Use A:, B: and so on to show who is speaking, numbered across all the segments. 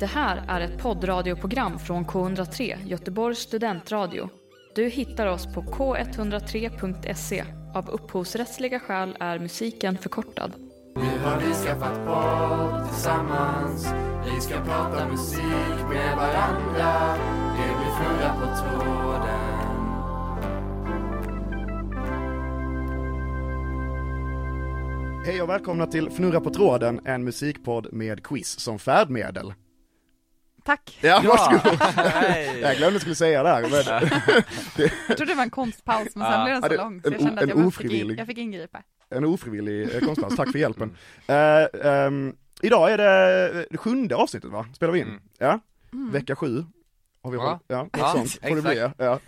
A: Det här är ett poddradioprogram från K103, Göteborgs studentradio. Du hittar oss på k103.se. Av upphovsrättsliga skäl är musiken förkortad.
B: Nu har vi skaffat podd tillsammans Vi ska prata musik med varandra Det blir fnurra på tråden
C: Hej och välkomna till Fnurra på tråden, en musikpodd med quiz som färdmedel.
D: Tack.
C: Ja, varsågod. Jag
E: Hej!
C: glömde skulle säga det här, men
D: Jag trodde det var en konstpaus, men sen
E: Ja.
D: blev
C: Ja,
D: den så
C: det-
D: lång, så
C: en
D: jag
C: o-
D: kände att
C: en
D: jag, bara fick, in,
C: ofrivillig.
D: jag fick ingripa.
C: en ofrivillig eh, konstpaus, tack för hjälpen. Eh, ehm, idag är det det sjunde avsnittet va, spelar vi in?
E: Mm.
C: Ja, vecka sju. Har vi
E: Ja.
C: hållit, ja, något
E: Ja,
C: sånt får det bli. Ja. Ja.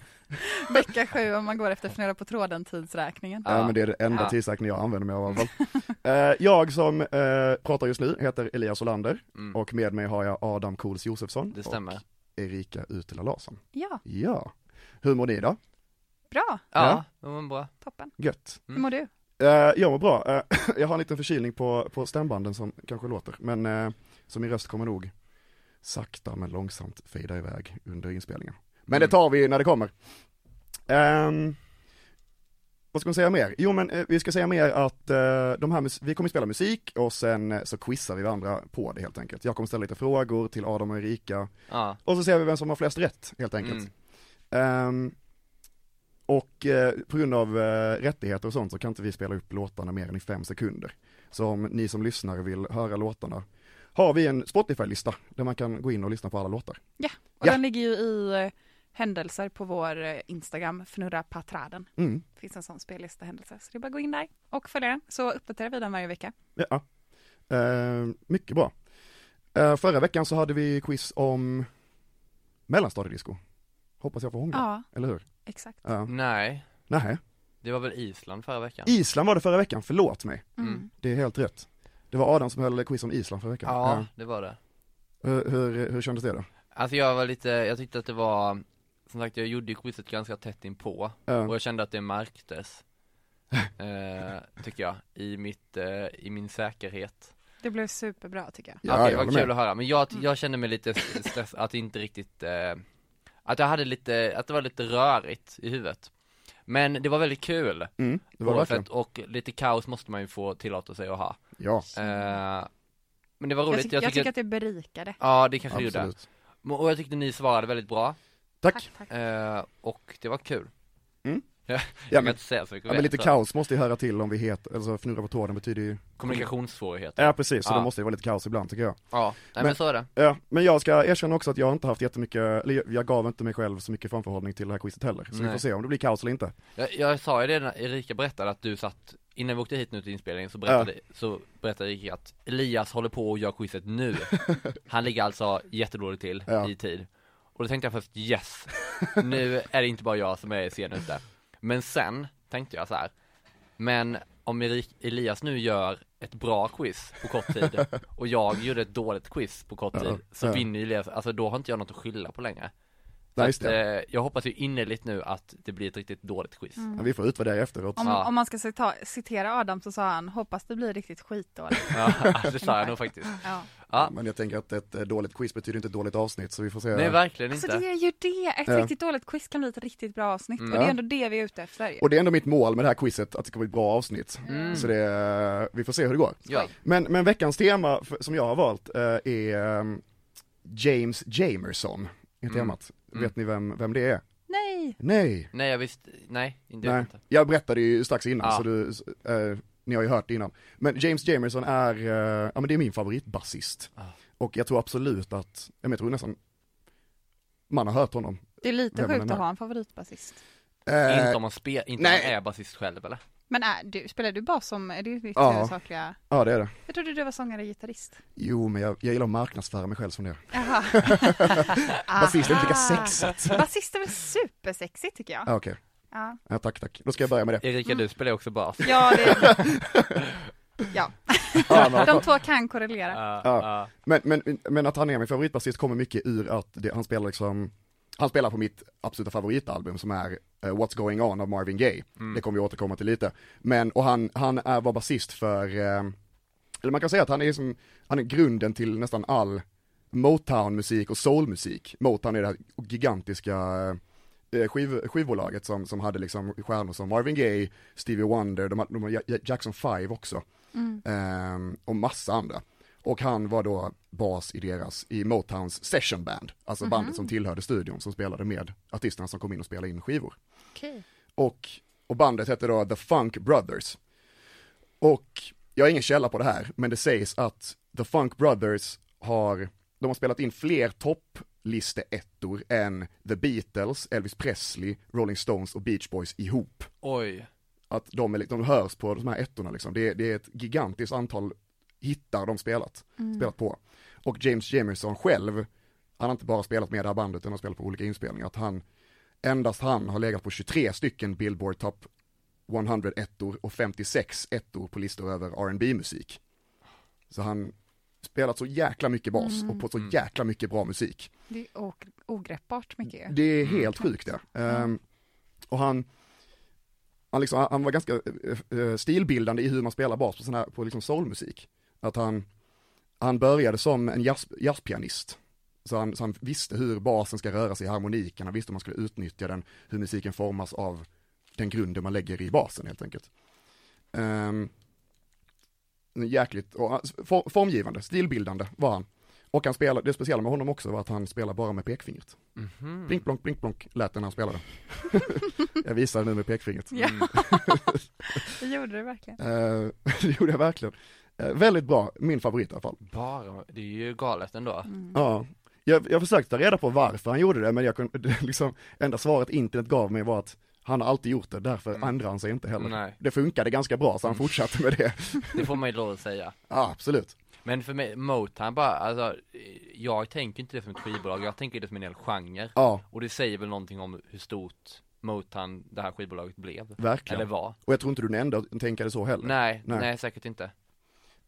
D: Vecka sju, om man går efter Fnurra på tråden-tidsräkningen.
C: men det är det enda
E: Ja.
C: tidsräkning jag använder mig av i alla fall. Eh, jag som eh, pratar just nu heter Elias Olander
E: Mm.
C: och med mig har jag Adam Cools Josefsson
E: Det stämmer.
C: och Erika Utela Larsson.
D: Ja,
C: Ja, hur mår ni idag?
D: bra,
C: Ja.
E: Ja, det var bra.
D: toppen.
C: Gött.
D: Hur mår du?
C: Eh, jag mår bra. Eh, jag har en liten förkylning på, på stämbanden som kanske låter, men eh, så min röst kommer nog sakta men långsamt fejda iväg under inspelningen. Men det
E: Mm.
C: tar vi när det kommer. Ehm, vad ska man säga mer? Jo men eh, vi ska säga mer att eh, de här mus- vi kommer spela musik och sen eh, så quizar vi varandra på det helt enkelt. Jag kommer ställa lite frågor till Adam och Erika
E: Ja.
C: och så ser vi vem som har flest rätt helt enkelt.
E: Mm.
C: Ehm, och eh, på grund av eh, rättigheter och sånt så kan inte vi spela upp låtarna mer än i fem sekunder. Så om ni som lyssnare vill höra låtarna har vi en Spotify-lista där man kan gå in och lyssna på alla låtar.
D: Och
C: Ja.
D: den ligger ju i eh, händelser på vår eh, Instagram, Fnurra på tråden.
C: Mm.
D: Det finns en sån spellista händelser, så det är bara att gå in där och följa den, så uppdaterar vi den varje vecka.
C: Ja. Ehm, mycket bra. Eh, förra veckan så hade vi quiz om mellanstadiedisco. Hoppas jag får hångla,
D: Ja,
C: eller hur?
D: exakt.
C: Ja.
E: Nej,
C: Nej.
E: det var väl Island förra veckan?
C: Island var det förra veckan, förlåt mig.
D: Mm.
E: Mm.
C: Det är helt rätt. Det var Adam som höll quiz om Island förra veckan.
E: Ja, det var det.
C: Ja. Hur, hur, hur kändes det då?
E: Alltså jag var lite, jag tyckte att det var, som sagt jag gjorde ju quizet ganska tätt inpå
C: Ja.
E: och jag kände att det märktes. Eh, tycker jag, i mitt, eh, i min säkerhet.
D: Det blev superbra tycker jag.
C: Ja,
E: Okej,
C: jag
E: det var
C: håller
E: kul
C: med. Mm.
E: att höra, men jag, jag kände mig lite stressad, att det inte riktigt, eh, att jag hade lite, att det var lite rörigt i huvudet. Men det var väldigt kul,
C: Mm, det var det verkligen.
E: oavsett, och lite kaos måste man ju få tillåta sig att ha.
C: Ja,
E: Eh, men det var
D: Jag,
E: roligt,
D: tyck, jag tycker att
E: att,
D: det berikade.
E: ja det kanske det gjorde.
C: absolut.
E: Men- Och jag tyckte ni svarade väldigt bra,
C: Tack.
D: tack.
E: eh, och det var kul.
C: Ja,
E: jag kan
C: men,
E: inte säga så mycket
C: ja, men
E: mer,
C: lite
E: så.
C: kaos måste ju höra till om vi heter, alltså fnurra på tråden betyder ju
E: Kommunikationssvårigheter.
C: Ja precis, så
E: Ja.
C: det måste ju vara lite kaos ibland tycker jag.
E: Ja, nej, men,
C: Men-
E: så är det.
C: Ja, men jag ska erkänna också att jag inte haft jättemycket, eller jag- jag gav inte mig själv så mycket framförhållning till det här quizet heller. Så vi
E: Nej.
C: får se om det blir kaos eller inte.
E: Jag, jag sa ju det när Erika berättade att du satt, innan vi åkte hit nu till inspelningen så berättade, så berättade Erika att Elias håller på och gör quizet nu. Han ligger alltså jättedåligt till
C: Ja.
E: i tid. Och då tänkte jag först yes, nu är det inte bara jag som är sen ute. Men sen tänkte jag så här. men om Erik, Elias nu gör ett bra quiz på kort tid och jag gjorde ett dåligt quiz på kort tid
C: Ja,
E: så
C: ja.
E: vinner ju Elias, alltså då har inte jag något att skylla på längre. Så
C: Nej, just
E: att,
C: det.
E: eh, jag hoppas ju innerligt nu att det blir ett riktigt dåligt quiz.
C: Ja, vi får utvärdera efteråt.
D: Om,
E: Ja.
D: om man ska cita, citera Adam så sa han, hoppas det blir riktigt skitdåligt.
E: Ja, det sa jag nog faktiskt.
D: Ja.
E: Ja.
C: Men jag tänker att ett eh, dåligt quiz betyder inte ett dåligt avsnitt, så vi får se.
E: Nej, verkligen
D: Alltså
E: inte.
D: det är ju det, ett
C: Ja.
D: riktigt dåligt quiz kan bli ett riktigt bra avsnitt
E: Mm.
D: och det är
C: Ja.
D: ändå det vi är ute efter ju.
C: Och det är ändå mitt mål med det här quizet, att det ska bli ett bra avsnitt.
E: Mm.
C: Så det, eh, vi får se hur det går.
E: Ja.
C: Men, men veckans tema f- som jag har valt eh, är eh, James Jamerson, är
E: Mm.
C: temat.
E: Mm.
C: Vet ni vem, vem det är?
D: Nej!
C: Nej!
E: Nej, jag visste, nej, inte,
C: Nej,
E: inte.
C: jag berättade ju strax innan,
E: Ja.
C: så du, s- eh, ni har ju hört det innan. Men James Jamerson är, eh, ja men det är min favoritbasist.
E: Ja.
C: Och jag tror absolut att, ja, men jag tror nästan, man har hört honom.
D: Det är lite
C: Vem är
D: sjukt
C: den
D: att
C: här?
D: ha en favoritbasist.
C: Eh,
E: Inte om man spelar, inte om
C: nej.
E: man är basist själv eller?
D: Men är du, spelar du bas som, är det ditt
C: Ja.
D: huvudsakliga?
C: Ja det är det.
D: Jag trodde du var sångare och gitarrist.
C: Jo men jag, jag gillar att marknadsföra mig själv som det.
D: Jaha.
C: Basist är inte lika
E: Ah.
D: Aha.
C: sexigt.
D: Basist är väl supersexigt tycker jag.
C: Ja okej,
D: Ja,
C: ja, tack tack. Då ska jag börja med det.
E: Erika, du spelar ju också bas.
D: ja det Ja,
C: Ja, men,
D: de två kan korrelera.
E: Ja,
C: Ja.
E: ja.
C: Men, men, men att han är min favoritbasist kommer mycket ur att det, han spelar liksom, han spelar på mitt absoluta favoritalbum som är eh, What's going on av Marvin Gaye. Det kommer vi återkomma till lite. Men, och han, han är, var basist för, eh, eller man kan säga att han är som, han är grunden till nästan all Motown-musik och soulmusik. Motown är det här gigantiska eh, skiv, skivbolaget som, som hade liksom stjärnor som Marvin Gaye, Stevie Wonder, de, hade- de, hade Ja- Jackson 5 också. Ehm, och massa andra. Och han var då bas i deras, i Motowns session band, alltså bandet som tillhörde studion som spelade med artisterna som kom in och spelade in skivor.
F: Okej.
C: Och, och bandet hette då The Funk Brothers. Och jag har ingen källa på det här, men det sägs att The Funk Brothers har, de har spelat in fler topplisteettor än The Beatles, Elvis Presley, Rolling Stones och Beach Boys ihop.
E: Oj,
C: Att de, är, li- de hörs på de här ettorna liksom. Det, är- det är ett gigantiskt antal hittar de spelat, spelat på. Och James Jamerson själv, han har inte bara spelat med det här bandet, utan har spelat på olika inspelningar, att han, endast han har legat på 23 stycken Billboard Top 100 ettor och 56 ettor på listor över rb musik Så han spelat så jäkla mycket bas och på så jäkla mycket bra musik.
D: Det är o- ogreppbart mycket.
C: Det är helt sjukt det. Ehm, och han, han, liksom, han- han var ganska eh, eh, stilbildande i hur man spelar bas på, sån här, på liksom soulmusik. Att han, han började som en jazz, jazzpianist. Så han, så han visste hur basen ska röra sig i harmoniken, han visste hur man skulle utnyttja den, hur musiken formas av den grunden man lägger i basen helt enkelt. Ehm, jäkligt, och, han- for, formgivande, stilbildande var han. Och han spelade, det speciella med honom också var att han spelar bara med pekfingret.
E: Mhm. Mm.
C: Blink, blonk, blink, blonk lät den när han spelade. jag visar nu med pekfingret.
D: Ja,
E: Mm.
D: det gjorde det verkligen.
C: Eh, det gjorde jag verkligen. Eh, väldigt bra, min favorit i alla fall.
E: bara, det är ju galet ändå.
D: Mm.
C: Ja. Jag, jag försökte ta reda på varför han gjorde det, men jag kunde, det liksom, enda svaret internet gav mig var att han har alltid gjort det, därför ändrar han sig inte heller.
E: Mm. Nej. Mm.
C: Det funkade ganska bra, så han fortsatte med det.
E: Det får man ju lov att säga.
C: Ja, absolut.
E: Men för mig, Motown bara, alltså, jag tänker inte det som ett skivbolag, jag tänker det som en hel genre.
C: Ja,
E: Och det säger väl någonting om hur stort Motown, det här skivbolaget blev.
C: verkligen.
E: Eller var.
C: Och jag tror inte du är den enda som tänkade så heller.
E: Nej,
C: Nej.
E: nej, säkert inte.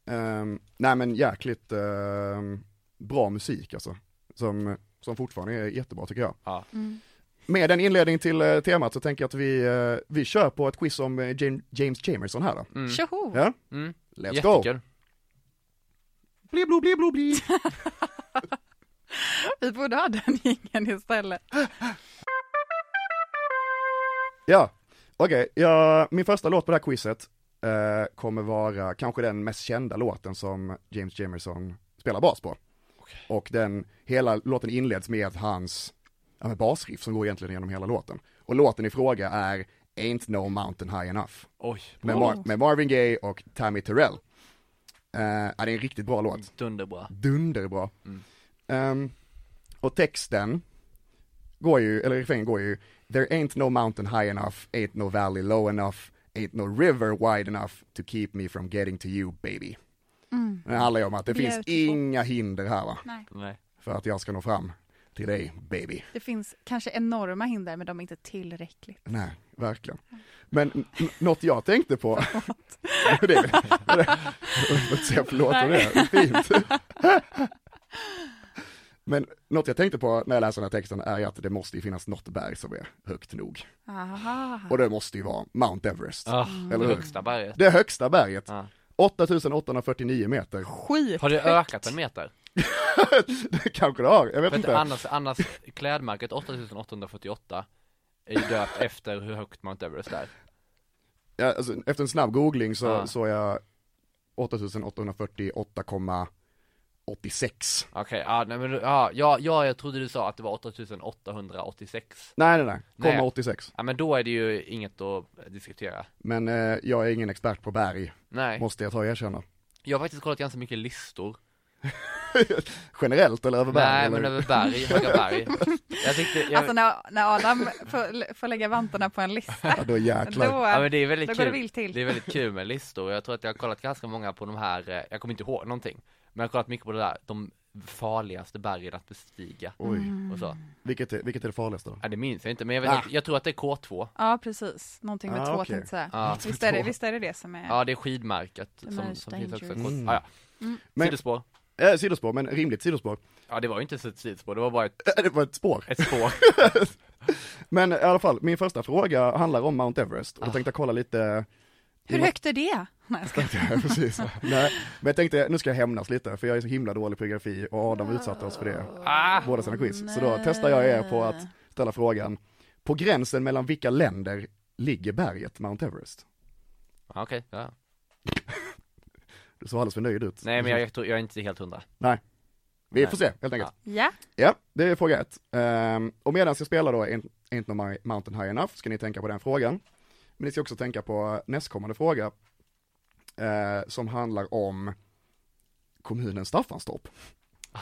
C: Ehm, nej men jäkligt ehm, bra musik alltså. Som, som fortfarande är jättebra tycker jag.
E: Ja.
D: Mm.
C: Med den inledningen till eh, temat så tänker jag att vi, eh, vi kör på ett quiz om eh, Jam- James Jamerson här då.
E: Mm.
D: Tjoho!
C: Ja,
E: Mm.
C: let's go!
E: Jättekul.
C: Bli, bli, bli, bli, bli.
D: Vi borde ha den jingeln istället.
C: Ja, okej, ja, min första låt på det här quizet eh, kommer vara kanske den mest kända låten som James Jamerson spelar bas på. Och den, hela låten inleds med hans ja, med basriff som går egentligen genom hela låten. Och låten i fråga är Ain't No Mountain High Enough
E: Oj,
C: med, Mar- med Marvin Gaye och Tammy Terrell. Eh, ja, det är en riktigt bra låt.
E: dunderbra.
C: dunderbra.
E: Mm.
C: Ehm, och texten går ju, eller refrängen går ju, There ain't no mountain high enough, ain't no valley low enough, ain't no river wide enough to keep me from getting to you baby.
D: Mm.
C: Det handlar ju om att det finns
D: Beautiful.
C: inga hinder här va,
E: Nej.
C: för att jag ska nå fram till dig baby.
D: Det finns kanske enorma hinder, men de är inte tillräckligt.
C: Nej, verkligen. Men n- något jag tänkte på, det, det, jag får inte säga förlåt om det, det är fint. Men något jag tänkte på när jag läste den här texten är ju att det måste ju finnas något berg som är högt nog.
D: Aha.
C: Och det måste ju vara Mount Everest.
E: Ah,
C: Eller hur?
E: högsta berget.
C: Det högsta berget,
E: Ja.
C: 8849 meter.
D: Skit.
E: Har det ökat en meter?
C: Det kanske det har, jag vet
E: För att
C: inte.
E: annars, annars klädmärket 8848 är ju döpt efter hur högt Mount Everest är.
C: Ja, alltså, efter en snabb googling så,
E: Ja.
C: så är jag 8848,86.
E: Okej, ja, nej men ja, ja, ja, jag trodde du sa att det var 8886.
C: Nej, nej, nej. Komma
E: Nej.
C: 86.
E: Ja men då är det ju inget att diskutera.
C: Men eh, jag är ingen expert på berg,
E: Nej,
C: måste jag ta och erkänna.
E: jag har faktiskt kollat ganska mycket listor.
C: Generellt eller över berg?
E: Nej
C: eller?
E: men över berg, höga berg. Jag tyckte, jag,
D: Alltså när, när Adam får, får lägga vantarna på en lista,
C: Ja, då
D: då,
C: jäklar.
E: ja men det är
D: då
E: väldigt
D: går det
E: kul.
D: vilt till.
E: Det är väldigt kul med listor, jag tror att jag har kollat ganska många på de här, eh, jag kommer inte ihåg någonting. Men jag har kollat mycket på det där, de farligaste bergen att bestiga
C: Oj,
E: och
D: Mm.
E: så.
C: vilket är, vilket är det farligaste då?
E: Ja, det minns jag inte, men jag, vet,
C: Ah.
E: att- jag tror att det är K2.
D: Ja, precis. Någonting med
C: Ah,
D: två
C: okej.
D: tänkte jag säga.
E: Ja.
D: Visst, är det, visst är det det som är...
E: Ja, det är skidmärket
F: The
E: som,
F: most
E: som finns också.
F: dangerous.
E: Mm. Ah, ja.
C: Men-
E: Sidospår.
C: Eh, sidospår, men rimligt sidospår.
E: Ja, det var ju inte så ett sidospår, det var bara ett,
C: Eh, det var ett spår.
E: ett spår. Ah.
C: Men i alla fall, min första fråga handlar om Mount Everest. Och då tänkte jag kolla lite
D: Hur högt är det? Nej, jag skojar.
C: Ja, precis. Nej, men jag tänkte, nu ska jag hämnas lite, för jag är så himla dålig på geografi och Adam utsatte oss för det,
E: Ah!
C: båda sina quiz. Så då testar jag er på att ställa frågan, på gränsen mellan vilka länder ligger berget Mount Everest?
E: Ja, Ah, Okej, ja.
C: Du såg alldeles för nöjd ut.
E: Nej men jag, jag, tror- jag är inte helt hundra.
C: Mm. Vi får se, helt enkelt.
D: Ja,
C: Ja, det är fråga ett. Ehm, och medan jag spelar då Ain't Ain't No My Mountain High Enough ska ni tänka på den frågan. Men ni ska också tänka på nästkommande fråga eh, som handlar om kommunen Staffanstorp. Kom-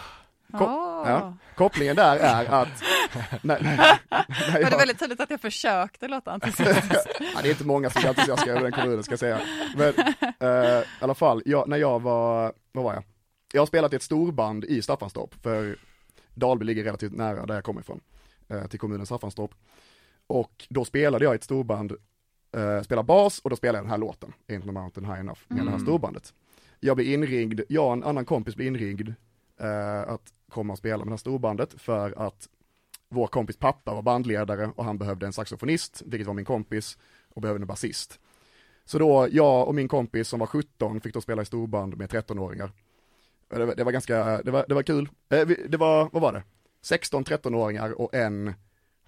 D: Åh.
C: Ja. Kopplingen där är att... Nej, nej, nej,
D: Var det
C: jag-
D: väldigt tydligt att jag försökte låta entusiastisk?
C: ja, det är inte många som är entusiastiska över den kommunen ska jag säga. Men eh, i alla fall, jag, när jag var, vad var jag? Jag har spelat i ett storband i Staffanstorp, för Dalby ligger relativt nära där jag kommer ifrån, eh, till kommunen Staffanstorp. Och då spelade jag i ett storband, eh, spelade bas och då spelade jag den här låten, Ain't No Mountain High Enough, med det här storbandet. Jag blev inringd, jag och en annan kompis blev inringd eh, att komma och spela med det här storbandet för att vår kompis pappa var bandledare och han behövde en saxofonist, vilket var min kompis, och behövde en basist. Så då, jag och min kompis som var 17 fick då spela i storband med 13-åringar. Och Det var, det var ganska, det var, det var kul. Eh, vi- Det var, vad var det? 16-13-åringar och en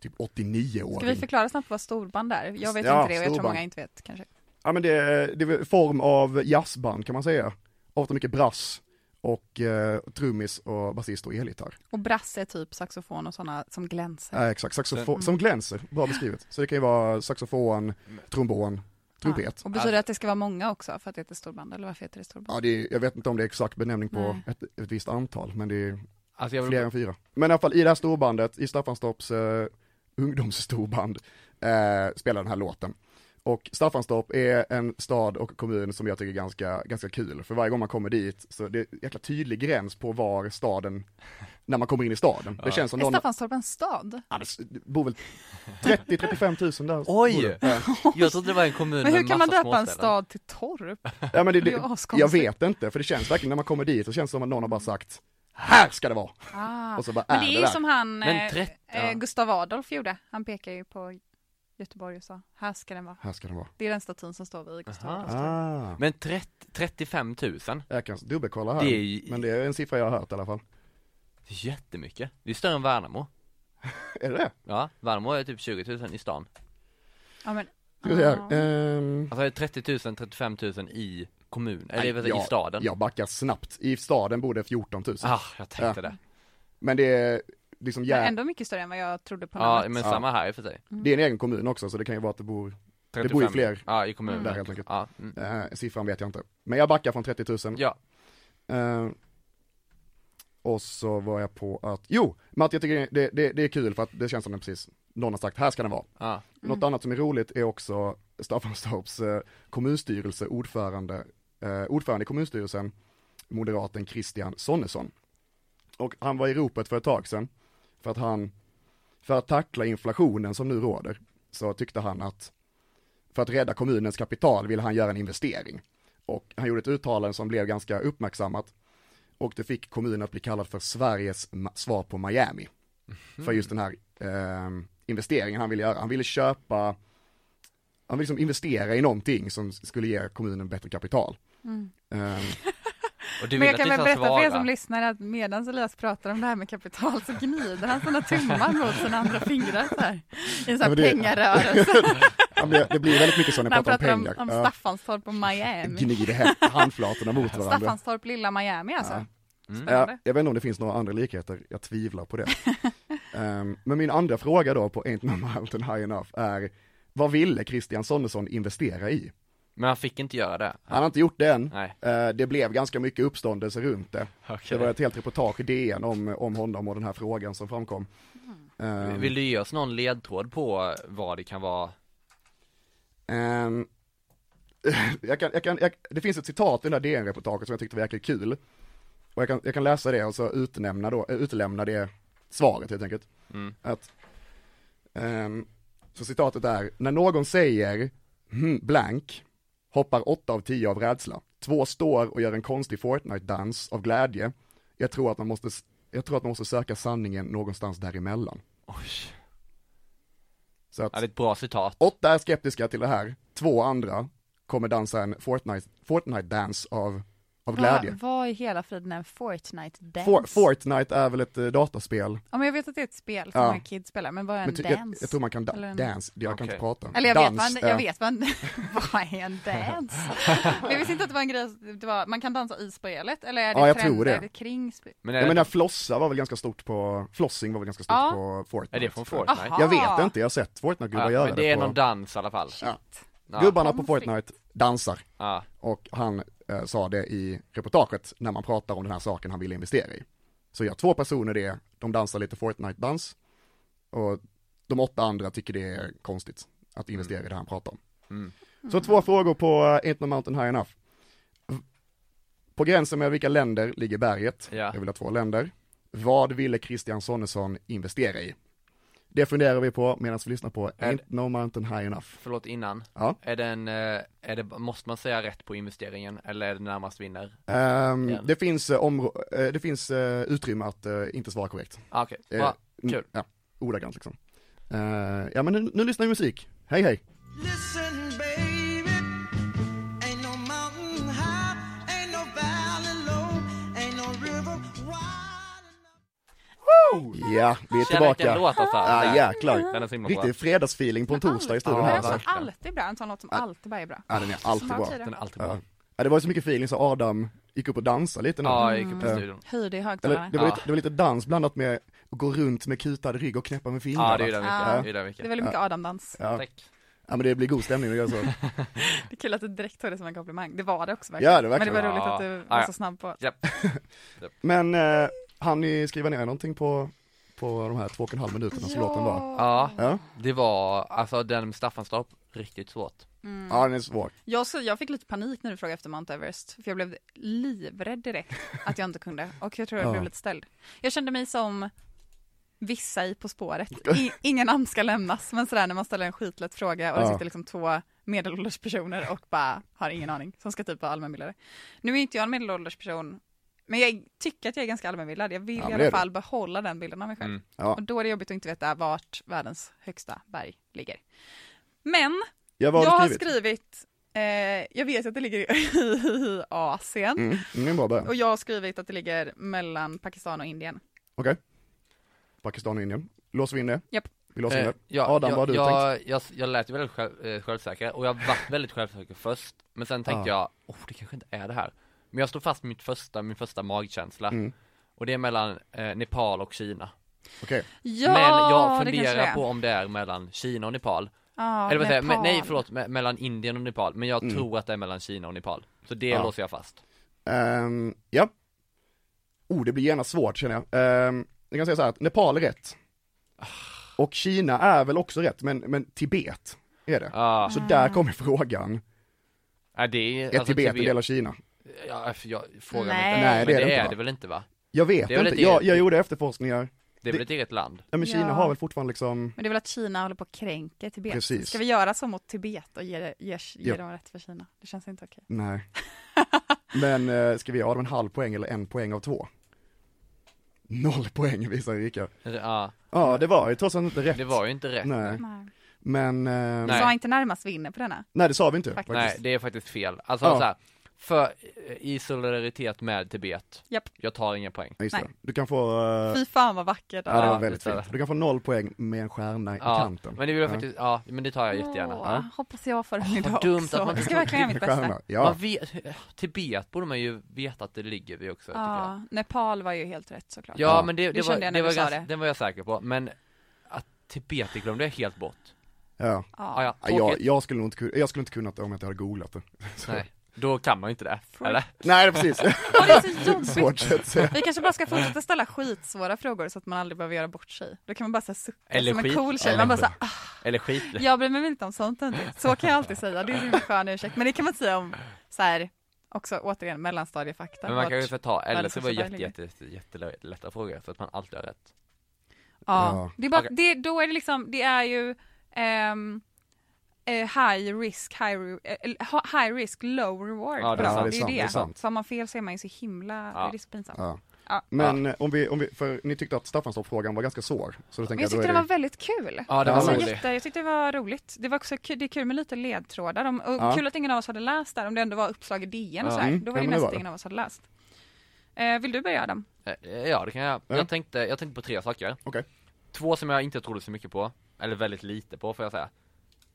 C: typ
D: Ska vi
C: 89-åring.
D: förklara snabbt vad storband är? Jag vet
C: Ja,
D: inte det och jag tror
C: storband.
D: många inte vet kanske.
C: Ja men det, det är en form av jazzband kan man säga. Ofta mycket brass och eh, trummis och basist och elgitarr.
D: Och brass är typ saxofon och sådana som glänser.
C: Ja, exakt, saxofon,
D: Sen-
C: som glänser, bra beskrivet. Så det kan ju vara saxofon, trombon, trumpet.
D: Ja. Och betyder det att det ska vara många också för att det heter storband? Eller varför heter det storband?
C: Ja, det är, jag vet inte om det är exakt benämning på
D: Nej.
C: ett, ett visst antal, men det är
E: Alltså jag vill,
C: fler än fyra. Men i alla fall i det här storbandet, i Staffanstorps eh, ungdomsstorband, eh, spelar den här låten. Och Staffanstorp är en stad och kommun som jag tycker är ganska, ganska kul, för varje gång man kommer dit så det är en jäkla tydlig gräns på var staden, när man kommer in i staden. Det känns som
D: Är
C: någon,
D: Staffanstorp en stad?
C: ja, det bor väl 30-35 tusen där.
E: Oj!
C: bor det. Ja.
E: jag trodde det var en kommun
D: Men hur
E: med
D: kan man
E: massa
D: döpa en
E: småställen.
D: stad till torp?
C: Ja, men det,
D: Det är ju
C: det,
D: askonstigt.
C: jag vet inte, för det känns verkligen när man kommer dit så känns det som att någon har bara sagt Här ska det vara!
D: Ah.
C: Och så bara
D: Men
C: är
D: det
C: det,
D: är ju
C: där.
D: som han
E: Men
D: eh,
E: trett- ja.
D: eh, Gustav Adolf gjorde. Han pekar ju på Göteborg och sa, här ska den vara.
C: Här ska det vara.
D: Det är den statyn som står vid Gustav
E: Aha.
D: Adolfs torg.
C: Ah.
E: Men 30, 35 000, det är
C: Jag kan dubbelkolla här,
E: Det är ju-
C: men det är en siffra jag har hört i alla fall.
E: jättemycket. Det är större än Värnamo.
C: Är det det?
E: Ja, Värnamo är typ 20 000 i stan.
D: Ja, men,
C: Ska vi se här. Ehm,
E: Alltså är det 30 000, 35 000 i kommun,
C: nej,
E: eller Nej, i
C: jag-
E: staden.
C: Jag backar snabbt. I staden bor det 14 000.
E: Ah, jag tänkte det.
C: Men det är liksom,
D: men
C: jä...
D: ändå mycket större än vad jag trodde på
E: Ja,
D: namnet.
E: men samma här i och för sig.
C: det är en egen kommun också, så det kan ju vara att det bor, det
E: 35.
C: bor ju fler
E: Ja, i kommunen.
C: där helt enkelt.
E: Ja, mm.
C: Eh, siffran vet jag inte. Men jag backar från 30 000.
E: ja.
C: Eh, och så var jag på att, jo, men att jag tycker det, det, det är kul för att det känns som den precis, någon har sagt, här ska den vara.
E: ja.
C: Något annat som är roligt är också Staffanstorps eh, kommunstyrelse, ordförande, eh, ordförande i kommunstyrelsen, moderaten Christian Sonesson. Och han var i ropet för ett tag sedan, för att han, för att tackla inflationen som nu råder, så tyckte han att, för att rädda kommunens kapital ville han göra en investering. Och han gjorde ett uttalande som blev ganska uppmärksammat, och det fick kommunen att bli kallad för Sveriges ma- svar på Miami för just den här eh, investeringen han ville göra. Han ville köpa, han ville liksom investera i någonting som skulle ge kommunen bättre kapital.
D: Mm.
C: Eh,
E: Och du
D: Men
E: vill
D: jag
E: att
D: kan
E: vi
D: väl
E: ska
D: berätta för er
E: svara?
D: som lyssnar att medan Elias pratar om det här med kapital så gnider han sina tummar mot sina andra fingrar så här. I en sån
C: Ja,
D: här
C: men det-
D: pengarörelse.
C: han blev- det blir väldigt mycket så när
D: När han
C: jag pratar
D: pratar
C: om
D: om,
C: pengar.
D: om
C: Ja,
D: Staffanstorp och Miami.
C: Gnider hä- handflatorna mot varandra.
D: Staffanstorp, lilla Miami alltså.
E: Mm.
C: Ja, jag vet inte om det finns några andra likheter, jag tvivlar på det. Ehm, men min andra fråga då på Ain't No Mountain High Enough är, vad ville Christian Sonesson investera i?
E: Men han fick inte göra det.
C: Han har inte gjort det än.
E: Nej.
C: Eh, Det blev ganska mycket uppståndelse runt det. Det var ett helt reportage i DN om, om honom och den här frågan som framkom. Ehm,
E: Mm. Vill du ge oss någon ledtråd på vad det kan vara?
C: ehm, jag kan, jag kan, jag, det finns ett citat i det här DN-reportaget som jag tyckte var jäkligt kul. Och jag kan, jag kan läsa det och så utnämna då, eh, utelämna det svaret helt enkelt. Att, ehm, så citatet är, när någon säger hm, blank, hoppar åtta av tio av rädsla. Två står och gör en konstig Fortnite-dans av glädje. Jag tror att man måste, s- jag tror att man måste söka sanningen någonstans däremellan.
E: Oj.
C: Så att,
E: Ja, det är ett bra citat.
C: Åtta är skeptiska till det här, två andra kommer dansa en Fortnite, Fortnite dance av, av glädje.
D: Vad, vad i hela friden är en Fortnite Ah, dance?
C: For, Fortnite är väl ett eh, dataspel,
D: Ja, men jag vet att det är ett spel som
C: Ja.
D: många kids spelar, men vad är en
C: men ty, jag,
D: dance?
C: jag tror man kan
D: Eller
C: da-
D: en-
C: dance, jag kan inte
E: Okej.
C: prata.
D: Eller jag vet,
C: Dans
D: vad en- jag
C: är-
D: vet vad en, vad är en dance? Men jag visste inte att det var en grej, det var, man kan dansa i spelet, eller är det
C: Ja, jag tror
D: trender
C: det.
D: kring spelet?
E: Men är,
C: Jag
E: det,
C: menar flossa var väl ganska stort på, flossing var väl ganska stort
D: Ja.
C: på Fortnite.
E: är det från
C: tror
E: Fortnite?
D: Aha.
C: jag. Jag vet inte, jag har sett Fortnite-gubbar
E: ja,
C: göra
E: men det är
C: på...
E: någon dans i alla fall.
C: Ja.
E: Ja.
C: Gubbarna på
D: Konstigt.
C: Fortnite dansar
E: Ja.
C: och han eh, sa det i reportaget när man pratar om den här saken han ville investera i. Så gör två personer det, de dansar lite Fortnite-dans och de åtta andra tycker det är konstigt att investera i det han pratar om.
E: Mm.
C: Så två frågor på eh, Ain't No Mountain High Enough. V- På gränsen med vilka länder ligger berget?
E: Ja.
C: Jag vill ha två länder. Vad ville Christian Sonesson investera i? Det funderar vi på medan vi lyssnar på
E: Är-
C: Ain't No Mountain High Enough.
E: Förlåt innan.
C: Ja.
E: Är den, eh, är det, måste man säga rätt på investeringen eller är det närmast vinner?
C: Ehm,
E: Igen.
C: det finns, eh, områ- eh, det finns eh, utrymme att eh, inte svara korrekt.
E: Ah, Okej,
C: Eh,
E: bra.
C: n-
E: kul.
C: Ja, ordagrant liksom. Eh, ja men nu, nu lyssnar vi musik. Hej hej!
F: Listen, baby, ain't no mountain high, ain't no valley low, ain't no river wide.
C: Ja, vi är
E: Känner vilken
C: tillbaka.
E: låt alltså.
C: Ja
E: Den-
C: jäklar.
E: Den är så himla bra.
C: Riktig fredagsfeeling på en torsdag i studion
E: Ja,
C: här
D: Den är
C: alltså.
D: så alltid bra, en sån låt som alltid bara är bra.
C: Ja den är alltid
D: Smart
C: bra.
D: säger det.
E: Den är alltid bra.
C: Ja. Ja, det var ju så mycket feeling så Adam gick upp och dansade lite nu.
E: Ja, jag gick upp i
C: Mm.
E: studion.
D: Höj det i
C: Eller,
D: högtalarna.
C: det, var
E: Ja.
C: lite, det var lite dans blandat med att gå runt med kutad rygg och knäppa med fingrarna.
E: Ja, det är ju den mycket.
D: Ja.
E: Det är den
D: Det är
E: mycket.
D: väldigt mycket Adam-dans.
C: ja.
E: Tack.
C: ja men det blir god stämning att göra så.
D: Det är kul att du direkt tog det som en komplimang. Det var det också
C: Ja, det var
D: Men det var
E: verkligen.
D: roligt att
E: Ja.
D: du var
E: Ja,
D: så
E: ja.
D: snabb på
C: Men eh, hann ni skriva ner någonting på, på de här två och en halv minuterna som låten var?
E: Ja,
C: Ja,
E: det var, alltså den med Staffanstorp, riktigt svårt.
C: ja den är svår.
D: Jag, så, jag fick lite panik när du frågade efter Mount Everest, för jag blev livrädd direkt att jag inte kunde. Och jag tror jag
C: Ja.
D: blev lite ställd. Jag kände mig som vissa i På spåret. I, ingen namn ska lämnas, men sådär när man ställer en skitlätt fråga och det
C: Ja.
D: sitter liksom två medelålders personer och bara har ingen aning, som ska typ vara allmänbildade. Nu är inte jag en medelålders person, men jag tycker att jag är ganska allmänbildad. Jag vill
C: Ja,
D: i
C: men det
D: alla
C: är du.
D: fall behålla den bilden av mig själv.
E: Mm.
C: Ja.
D: Och då är det jobbigt att inte veta vart världens högsta berg ligger. Men
C: Ja, vad
D: jag
C: har
D: har
C: du skrivit?
D: skrivit, eh, jag vet att det ligger i Asien
C: Mm, det är en bra början.
D: och jag har skrivit att det ligger mellan Pakistan och Indien.
C: Okej. Pakistan och Indien. Låser vi in det?
D: Japp.
C: Vi låser in
E: Eh,
C: det.
E: ja,
C: Adam,
E: jag,
C: vad har du
E: jag, jag, jag lät ju väldigt själv, eh, självsäker och jag var väldigt självsäker först Men sen tänkte jag, oh det kanske inte är det här Men jag stod fast med mitt första, min första magkänsla
C: Mm.
E: Och det är mellan eh, Nepal och Kina
C: Okej.
D: Ja,
E: Men jag
D: det kanske det är.
E: funderar på om det är mellan Kina och Nepal
D: Ja,
E: Eller vad säger jag?
D: Nepal.
E: Men- Nej förlåt, me- mellan Indien och Nepal Men jag
C: Mm.
E: tror att det är mellan Kina och Nepal Så det
C: Ja.
E: låser jag fast
C: Ehm, ja. Oh, det blir genast svårt känner jag. Um, jag kan säga så här att Nepal är rätt. Och Kina är väl också rätt, men, men Tibet är det.
E: ah,
C: Så där kommer frågan.
E: är det
C: Är Tibet en del av Kina?
E: ja, för jag frågar
D: Nej.
E: mig inte
C: Nej,
E: Men
C: det är det
E: det
C: inte,
E: är
C: va?
E: det väl inte va?
C: Jag vet
E: Det är väl
C: inte.
E: ett
C: Jag,
E: eget-
C: jag gjorde efterforskningar.
E: Det är väl
C: Det-
E: ett eget land?
C: Ja, men Kina
D: Ja.
C: har väl fortfarande liksom,
D: Men det är väl att Kina håller på och kränker Tibet.
C: Precis.
D: Ska vi göra så mot Tibet och ge, det- ge, ge
C: Ja.
D: dem rätt för Kina? Det känns inte okej.
C: nej. Men eh, ska vi ha dem en halv poäng eller en poäng av två? Noll poäng visar Erika.
E: Ja,
C: Ja, det var ju trots allt inte rätt.
E: det var ju inte rätt
C: Nej,
D: Nej.
C: men, eh, nej.
E: Nej.
D: Så inte närmast vinner på denna.
C: det sa vi inte
D: Faktiskt.
C: faktiskt.
E: Nej, det är faktiskt fel. Alltså
C: Ja.
E: så här, för, eh, i solidaritet med Tibet,
D: Japp.
E: jag tar inga poäng.
C: Ja, Just
D: Nej.
C: Det. Du kan få, eh,
D: Fy fan vad vackert.
C: ja det var
E: Ja,
C: väldigt
E: det är
C: fint. Du kan få noll poäng med en stjärna i
E: Ja,
C: kanten.
E: men det vill jag
C: Ja.
E: faktiskt, ja, men det tar jag jättegärna.
D: Åh,
E: Ja.
D: Hoppas jag får den
E: Åh,
D: idag
E: vad dumt
D: också.
E: att man
D: Jag
E: inte
D: ska verkligen göra mitt bästa.
C: Stjärna, ja.
E: Man vet, Tibet borde man ju veta att det ligger vid också, tycker jag.
D: Ja, Nepal var ju helt rätt såklart.
E: Ja,
C: Ja.
E: men det, det,
D: Det
E: var,
D: kände jag när
E: det var
D: du sa
E: ganska,
D: det.
E: den var jag säker på, men att Tibet, det glömde jag helt bort.
C: ja.
E: Ja, ja,
C: Ja, jag,
E: tråkigt.
C: jag, skulle nog inte, kun- jag skulle inte kunnat det om jag inte hade googlat det.
E: Nej, då kan man ju inte det, eller?
C: Nej, precis.
D: Ja, det är så jobbigt.
C: Svårt så att säga.
D: Vi kanske bara ska fortsätta ställa skitsvåra frågor så att man aldrig behöver göra bort sig. Då kan man bara säga sucka
E: Eller
D: som en
E: skit.
D: cool tjej.
E: Eller
D: Man bara så, här, "Ah,
E: Eller skit
D: jag bryr mig väl inte om sånt inte. Så kan jag alltid säga, det är en himla skön ursäkt. Men det kan man inte säga om så här, också återigen mellanstadiefakta.
E: Men man
D: Vart-
E: kan ju få ta, eller
D: världens
E: så var det
D: största
E: jätte,
D: berg
E: jätte, jätte, jättelätta frågor, så att man alltid har rätt.
D: ja.
C: Ja.
D: det är bara,
E: Okej.
D: det, då är det liksom, det är ju ehm, eh, high risk, high, re- eh, high risk, low reward.
E: Ja, det är
D: Bra,
E: sant.
D: det
C: Ja,
D: är
C: det
D: ju
C: är
D: det.
C: sant.
D: Så om man fel så är man ju så himla,
E: Ja.
D: det är så pinsamt.
C: Ja.
D: Ja.
C: Men eh, om vi, om vi, för ni tyckte att Staffanstorp-frågan var ganska svår, så då
D: Men
C: tänker jag,
D: jag
C: då
D: tyckte
C: är
D: den
C: det-
D: var väldigt kul.
E: Ja, det
C: Ja,
E: var
D: Alltså,
E: roligt.
D: jätte, jag tyckte det var roligt. Det var också kul, det är kul med lite ledtrådar. De, och
C: Ja.
D: Kul att ingen av oss hade läst där, om det ändå var uppslag i DN och
E: Ja.
D: sådär.
C: Mm,
D: Då var det
C: ja, men det
D: nästan
C: var det.
D: ingen av oss hade läst. Eh, vill du börja Adam?
E: Eh, Ja, det kan jag.
C: Ja.
E: Jag, tänkte, jag tänkte på tre saker.
C: Okej.
E: Två som jag inte trodde så mycket på, eller väldigt lite på får jag säga.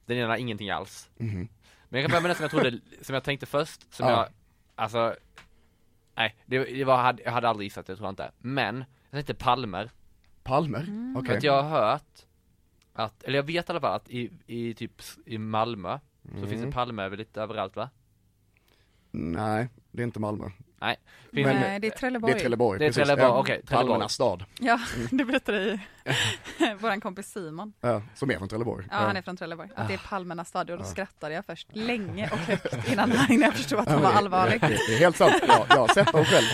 E: Den ena ingenting alls.
C: Mhm.
E: Men jag kan börja med den som jag trodde, som jag tänkte först, som
C: Ja.
E: jag, alltså, nej, det, det var, jag hade- jag hade aldrig gissat det tror jag inte. Men, jag tänkte palmer.
C: Palmer?
E: För
D: Mm.
C: Okej.
E: att jag har hört att, eller jag vet i alla fall att i, i typ s- i Malmö, så finns
C: Mm.
E: det palmer över lite överallt va?
C: Nej, det är inte Malmö.
E: Finns
C: Men-
E: det,
D: Nej, Eh, det är Trelleborg.
C: Det är Trelleborg,
E: Det är
C: precis.
E: Trelleborg,
C: Ja,
E: okej, Trelleborg.
C: Palmernas stad,
D: Ja, du berättade i våran kompis Simon.
C: ja, som är från Trelleborg.
D: Ja, han är från Trelleborg. Att det är palmernas stad och då skrattade jag först länge och högt innan han- innan jag förstod att han var allvarlig.
C: Det, det är helt sant, ja, jag har sett dem själv.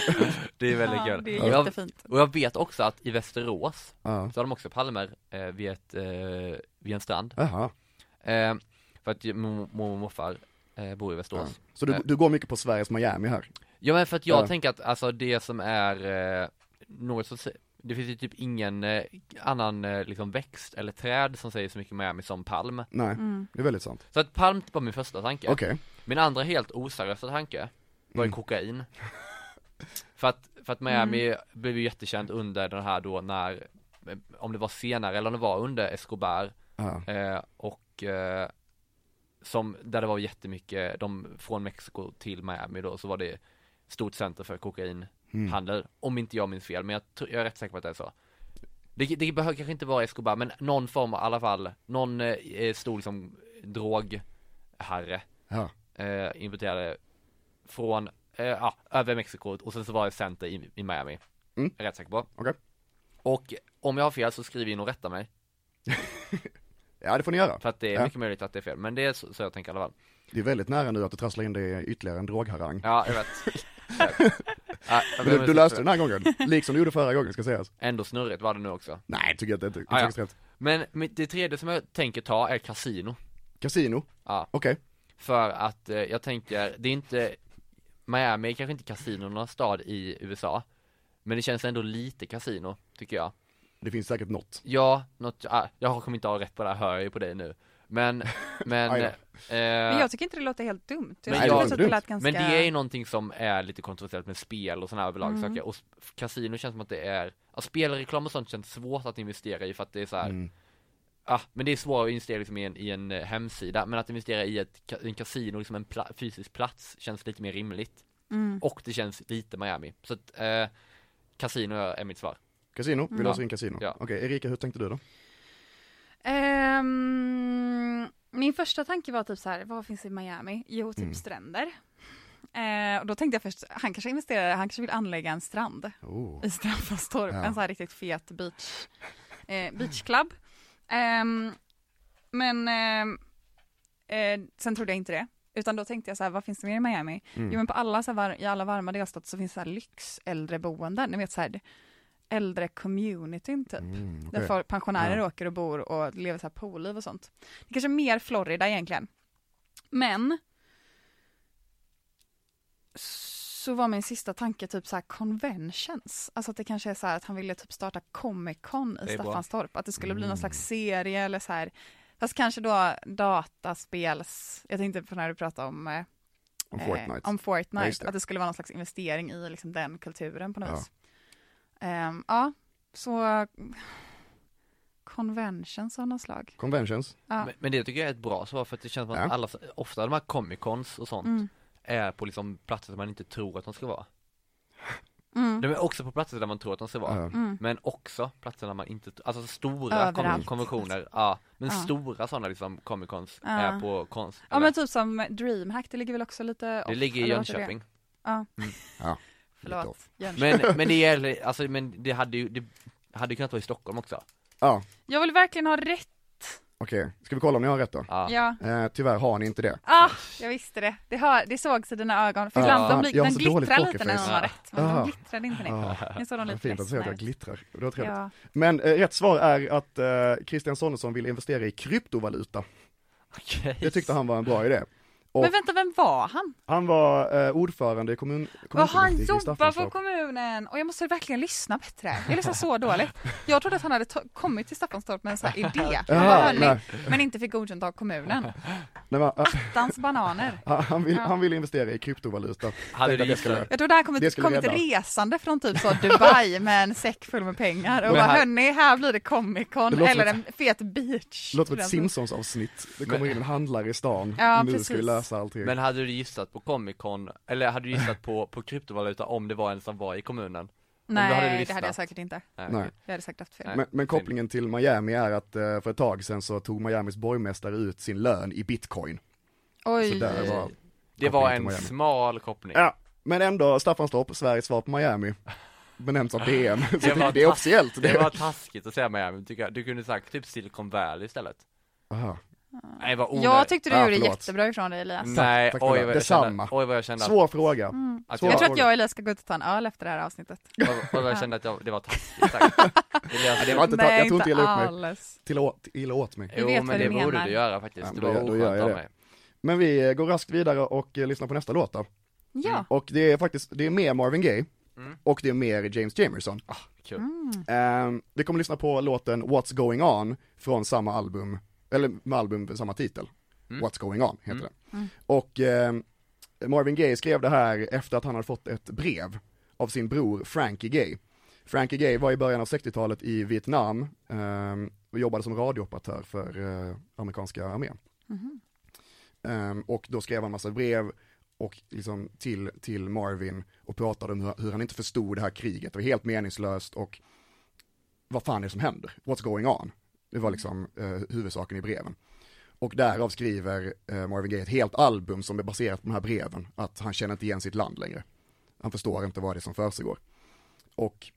E: det är väldigt
D: Ja,
E: kul.
D: det
E: Och
D: är
E: jag,
D: jättefint.
E: och jag vet också att i Västerås,
C: Ja.
E: så har de också palmer eh, vid, ett, eh, vid en strand.
C: Jaha.
E: Eh, för att ju- mo- mormor och morfar eh, bor i
C: Ja.
E: Västerås.
C: Så du,
E: Eh.
C: du går mycket på Sveriges Miami här?
E: Ja. men för att jag
C: Ja.
E: tänker att alltså det som är eh, något som, sä- det finns ju typ ingen eh, annan eh, liksom växt eller träd som säger så mycket Miami som palm.
C: Nej,
D: Mm.
C: det är väldigt sant.
E: Så att palm typ var min första tanke.
C: Okej,
E: Min andra helt oseriösa tanke var ju
C: Mm.
E: kokain. för, att, för att Miami blev ju jättekänt under den här då när, eh, om det var senare eller om det var under Escobar,
C: ja.
E: Eh, och eh, som, där det var jättemycket, de, från Mexiko till Miami då, så var det stort center för
C: Mm.
E: kokainhandel. Om inte jag minns fel, men jag, tr- jag är rätt säker på att det är så. Det, det behöver kanske inte vara Escobar, men någon form av, i alla fall, någon eh, stor liksom drogherre
C: ja.
E: eh, importerade från, eh, ja, över Mexiko och sen så var det center i, i Miami.
C: Mm.
E: Jag är rätt säker på.
C: Okej.
E: Och om jag har fel så skriv in och rätta mig.
C: ja, det får ni göra.
E: För att det är
C: Ja.
E: mycket möjligt att det är fel, men det är så, så jag tänker i alla fall.
C: Det är väldigt nära nu att du trasslar in dig i ytterligare en drogharang.
E: Ja, jag vet. ja, jag
C: Men
E: ber om
C: du, du
E: ursäkt
C: löste
E: för
C: den här gången, liksom du gjorde förra gången ska sägas.
E: det. Ändå snurrigt var det nu också.
C: Nej, tycker jag inte. Det
E: Ah, ja.
C: tycks rätt.
E: Men mitt- det tredje som jag tänker ta är kasino.
C: Casino,
E: Ja,
C: okej.
E: för att eh, jag tänker, det är inte, Miami är kanske inte kasino någon stad i USA. Men det känns ändå lite kasino, tycker jag.
C: Det finns säkert något.
E: Ja, något, ah, jag kommer inte ha rätt på det här, hör jag ju på dig nu. Men, men,
C: Aj då.
E: eh,
D: Men jag tycker inte det låter helt dumt. Jag
E: Men
D: tyckte
E: jag-
D: faktiskt att det lät ganska...
E: Men det är ju någonting som är lite kontroversiellt med spel och sådana här överlag
D: Mm.
E: saker och sp- kasino känns som att det är, ja, spelreklam och sånt känns svårt att investera i för att det är så här.
C: Mm.
E: Ah, men det är svårt att investera liksom i, en, i en eh, hemsida, men att investera i ett ka- en kasino, liksom en pla- fysisk plats, känns lite mer rimligt.
D: Mm.
E: Och det känns lite Miami. Så att, eh, kasino är mitt svar.
C: Casino, vi
D: Mm.
C: löser in casino.
E: Ja.
C: Okej, Erika hur tänkte du då?
D: Ehm, min första tanke var typ så här, vad finns i Miami? Jo, typ
C: Mm.
D: stränder. Eh, och då tänkte jag först, han kanske investerar, han kanske vill anlägga en strand
C: Oh.
D: i Staffanstorp,
C: Ja.
D: en så här riktigt fet beach, eh, beachclub. Ehm, men ehm, eh, sen trodde jag inte det. Utan då tänkte jag så här, vad finns det mer i Miami?
C: Mm.
D: Jo men på alla så här, var- i alla varma delstater så finns så här lyxäldreboenden, ni vet så här äldre communityn typ.
C: Mm,
D: Där
C: okej.
D: folk- pensionärer
C: Ja.
D: åker och bor och lever så här poolliv och sånt. Det är kanske är mer Florida egentligen. Men så var min sista tanke typ så här conventions. Alltså att det kanske är så här att han ville typ starta Comic Con i
E: Det är bra.
D: Staffanstorp. Att det skulle bli någon slags serie eller så här. Fast kanske då dataspels, jag tänkte på när du pratade om, eh,
C: Om
D: eh,
C: Fortnite.
D: om
C: Ja, just
D: Fortnite
C: det.
D: att det skulle vara någon slags investering i liksom den kulturen på något
C: Ja.
D: vis. Ehm, ja, så conventions av något slag.
C: Conventions,
D: Ja.
E: Men, men det tycker jag är ett bra svar för att det känns som att
C: Ja.
E: alla, ofta de här comic cons och sånt
D: Mm.
E: är på liksom platser som man inte tror att de ska vara.
D: Mm.
E: De är också på platser där man tror att de ska vara.
C: ja.
D: Mm.
E: Men också platser där man inte, alltså stora kon-
D: Överallt.
E: konventioner, ja, men
D: Ja.
E: stora sådana liksom Comic Cons
D: Ja.
E: är på konst
D: Ja men typ som DreamHack, det ligger väl också lite
E: Det
D: off,
E: ligger i
D: eller vad är det?
E: Jönköping
C: Lite
D: Förlåt, Jönköping.
E: Men, men det gäller, alltså men det hade ju, det hade ju kunnat vara i Stockholm också
C: ja
D: Jag vill verkligen ha rätt,
C: okej. Ska vi kolla om ni har rätt då?
E: Ja,
D: ja.
C: Eh, tyvärr har ni inte det.
D: Ah, jag visste det. Det, hör, det sågs i dina ögon. För
C: Ja,
D: ibland de,
C: fan,
D: blir-
C: Ah, jag har
D: de
C: så dåligt
D: glittrar lite när
C: pokerface.
D: de har
E: Ja.
D: rätt. Men
C: Ah.
D: de glittrade inte
C: Ah.
D: när Nu såg de
C: Vad
D: lite
C: fint att du säger att
D: ledsna
C: jag
D: ut.
C: glittrar, det var trevligt.
D: Ja.
C: Men eh, rätt svar är att eh, Christian Sonesson vill investera i kryptovaluta.
E: okej
C: Det tyckte han var en bra idé. Och-
D: Men vänta, vem var han?
C: Han var eh, ordförande i kommun,
D: Vad han
C: kommunfullmäktige i
D: jobbar för
C: Staffanstorp.
D: kommunen och jag måste verkligen lyssna bättre. Jag lyssnar så dåligt. Jag trodde att han hade to- kommit till Staffanstorp med en sån här idé.
C: Jaha, nej.
D: men inte fick godkänt av kommunen.
C: Nej, men, eh,
D: Dans bananer.
C: han, han, vill, han vill investera i kryptovaluta.
E: Hade
C: Tänkte
E: du
C: att jag skulle-
E: gissat?
D: Jag tror det här
C: Det
D: kommit,
C: skulle
D: kommit
C: rädda.
D: resande från typ så Dubai med en säck full med pengar och
E: Men
D: bara
E: här-
D: hörni, här blir det Comic
C: Det
D: Con
C: låter
D: eller
C: som
D: en fet beach.
C: Det låter som
D: Den-
C: ett Simpsons-avsnitt. Det kommer in en handlare i stan.
D: Ja,
C: nu ska
D: precis.
C: vi lösa allting.
E: Men hade du gissat på Comic Con, eller hade du gissat på, på kryptovaluta om det var en som var i kommunen?
D: Nej,
E: du hade
D: det
E: lyssnat.
D: hade jag säkert inte.
E: Nej.
C: Nej.
D: Jag hade säkert haft fel.
E: Nej.
C: Men, men kopplingen till Miami är att eh, för ett tag sedan så tog Miamis borgmästare ut sin lön i bitcoin. Så
D: Oj.
C: där var.
E: Det var
C: Kopplingen
E: en
C: till Miami.
E: smal koppling.
C: Ja, men ändå Staffanstorp, Sveriges svar på Miami. Benämns av DM. Så det,
E: var
C: det är
E: task-
C: officiellt.
E: Det var taskigt att säga Miami, tycker jag. Du kunde sagt typ Silicon Valley istället.
C: Aha.
E: Nej, vad onödigt.
D: Jag tyckte du
C: Ja,
D: gjorde
C: Ah, förlåt.
D: jättebra ifrån dig Elias.
E: Nej,
C: tack, tack,
E: oj,
C: tack.
E: vad jag
C: Detsamma.
E: kände, oj vad jag kände att,
C: Svår fråga.
E: att
C: Svår
E: jag,
D: Jag tror att Mm. jag och Elias ska gå ut och ta en öl efter det här avsnittet.
E: oj, vad jag kände att jag, det var taskigt sagt. Elias,
C: Det var inte ta- jag tror inte illa upp mig.
D: alls.
C: Till åt, illa åt mig.
D: Vi
E: Jo
D: vet vad
E: men
D: du
E: det borde
D: menar.
E: du göra faktiskt,
C: Ja,
E: det
C: då
E: var
C: gör- då gör
E: oskönt
C: jag
E: av
C: det.
E: mig.
C: Men vi eh, går raskt vidare och eh, lyssnar på nästa låt då.
D: Ja,
C: Och det är faktiskt, det är mer Marvin Gaye
E: Mm.
C: och det är mer James Jamerson.
E: Ah, Kul.
D: Mm.
C: Ehm, vi kommer lyssna på låten What's Going On från samma album, eller med album med samma titel.
E: Mm.
C: What's Going On heter
E: Mm.
C: den. Och ehm, Marvin Gaye skrev det här efter att han hade fått ett brev av sin bror Frankie Gaye. Frankie Gaye var i början av 60-talet i Vietnam ehm, och jobbade som radiooperatör för eh, amerikanska armén.
E: Mm-hmm.
C: Ehm, och då skrev han massa brev och liksom till, till Marvin och pratade om hur, hur han inte förstod det här kriget, det var helt meningslöst och vad fan är det som händer? What's going on? Det var liksom eh, huvudsaken i breven. Och därav skriver eh, Marvin Gaye ett helt album som är baserat på de här breven, att han känner inte igen sitt land längre. Han förstår inte vad det är som försiggår. Och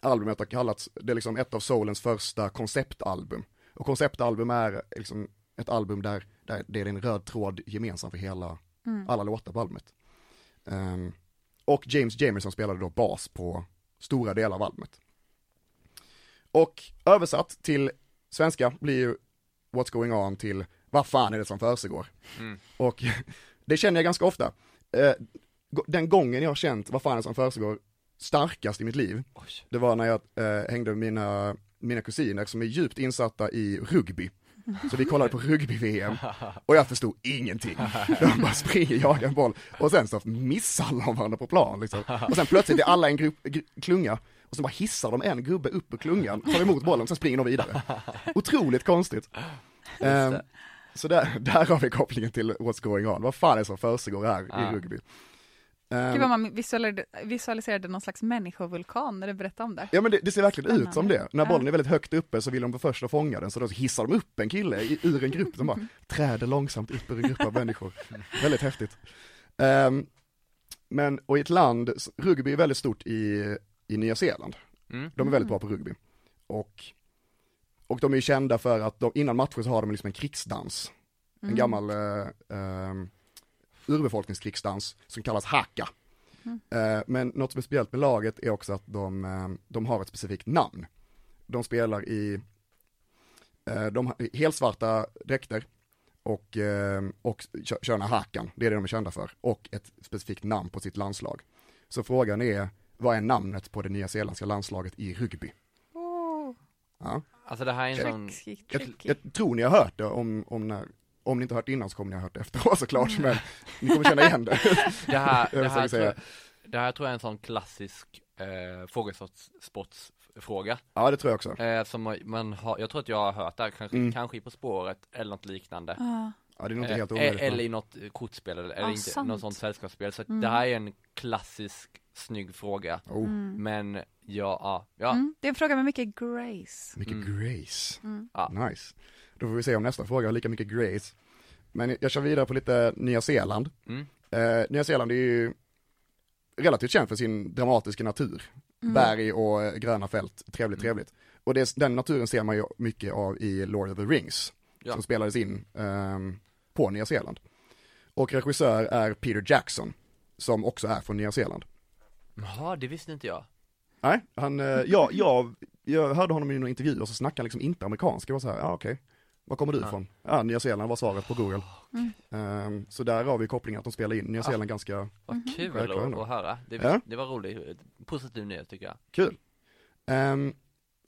C: albumet har kallats, det är liksom ett av Soulens första konceptalbum. Och konceptalbum är liksom ett album där, där det är en röd tråd gemensam för hela, alla låtar på albumet. Ehm, och James Jamerson spelade då bas på stora delar av albumet. Och översatt till svenska blir ju What's going on till Vad fan är det som försiggår?
E: Mm.
C: Och det känner jag ganska ofta. Eh, g- Den gången jag har känt Vad fan är det som försiggår starkast i mitt liv,
E: Oj.
C: det var när jag eh, hängde med mina, mina kusiner som är djupt insatta i rugby. Så vi kollade på rugby-VM och jag förstod ingenting. De bara springer, jagar en boll och sen så missar de varandra på plan liksom. Och sen plötsligt är alla en grupp, gr- klunga och så bara hissar de en gubbe upp ur klungan, tar emot bollen och sen springer de vidare. Otroligt konstigt. Ehm, så där, där har vi kopplingen till what's going on. Vad fan är det som försiggår här
E: Ah.
C: i rugby? Ehm,
D: gud vad man visualiserade, visualiserade någon slags människovulkan när du berättade om det.
C: Ja men det, det ser verkligen ut som
D: Spännande.
C: det. När bollen
D: Ja.
C: är väldigt högt uppe så vill de vara först att fånga den, så då hissar de upp en kille i, ur en grupp, de bara träder långsamt upp ur en grupp av människor. Väldigt häftigt. Ehm, men, och i ett land, s- rugby är väldigt stort i, i Nya Zeeland.
E: Mm.
C: De är väldigt bra på rugby. Och, och de är ju kända för att de, innan matcher så har de liksom en krigsdans. En
D: Mm.
C: gammal eh, ehm, urbefolkningskrigsdans som kallas haka. Eh, Men något som är speciellt med laget är också att de, eh, de har ett specifikt namn. De spelar i eh, de har helsvarta dräkter och, eh, och kö- kör den här hakan, det är det de är kända för, och ett specifikt namn på sitt landslag. Så frågan är, vad är namnet på det nya zeeländska landslaget i rugby?
D: Oh,
C: Ja.
E: Alltså det här är en sån,
D: tricky,
C: Jag,
D: tricky.
C: jag tror ni har hört det om, om när om ni inte hört det innan så kommer ni ha hört det efteråt såklart, men ni kommer känna igen det.
E: det här, det
C: Jag försöker
E: här, tror,
C: säga.
E: det här tror jag är en sån klassisk eh, frågesportsfråga.
C: Ja, det tror jag också.
E: Eh, som man har, jag tror att jag har hört det här, kanske,
C: Mm.
E: kanske i På spåret eller något liknande.
D: Ah,
C: Ja, det är nog inte helt
E: Eh,
C: omöjligt. men-
E: eller i något eh, kortspel eller, eller
D: Ja,
E: inte,
D: sant.
E: något sånt sällskapsspel. Så att
D: Mm.
E: det här är en klassisk snygg fråga.
C: Oh,
D: mm.
E: Men ja, ja, ja.
D: Mm, det är en fråga med mycket grace.
C: mycket
E: Mm.
C: grace.
D: Mm.
E: Ja.
C: Nice. Då får vi se om nästa fråga har lika mycket grace. Men jag kör vidare på lite Nya Zeeland.
E: Mm.
C: Eh, Nya Zeeland är ju relativt känd för sin dramatiska natur.
D: Mm.
C: Berg och eh, gröna fält, trevligt,
E: Mm.
C: trevligt. Och det, den naturen ser man ju mycket av i Lord of the Rings,
E: Ja.
C: som spelades in ehm, på Nya Zeeland. Och regissör är Peter Jackson, som också är från Nya Zeeland.
E: Jaha, det visste inte jag.
C: Nej, han, eh, ja, jag, jag hörde honom i någon intervju och så snackade han liksom inte amerikanska, jag var så här, ja okej. Var kommer du
E: Ja.
C: ifrån? Ja, Nya Zeeland var svaret på Google. Ehm, så där har vi kopplingen att de spelar in Nya Zeeland ganska
D: Mm-hmm.
E: Vad kul
C: Självklart
E: att,
C: ändå.
E: att höra. Det,
C: Ja.
E: det var roligt, positiv nyhet tycker jag.
C: kul. Ehm,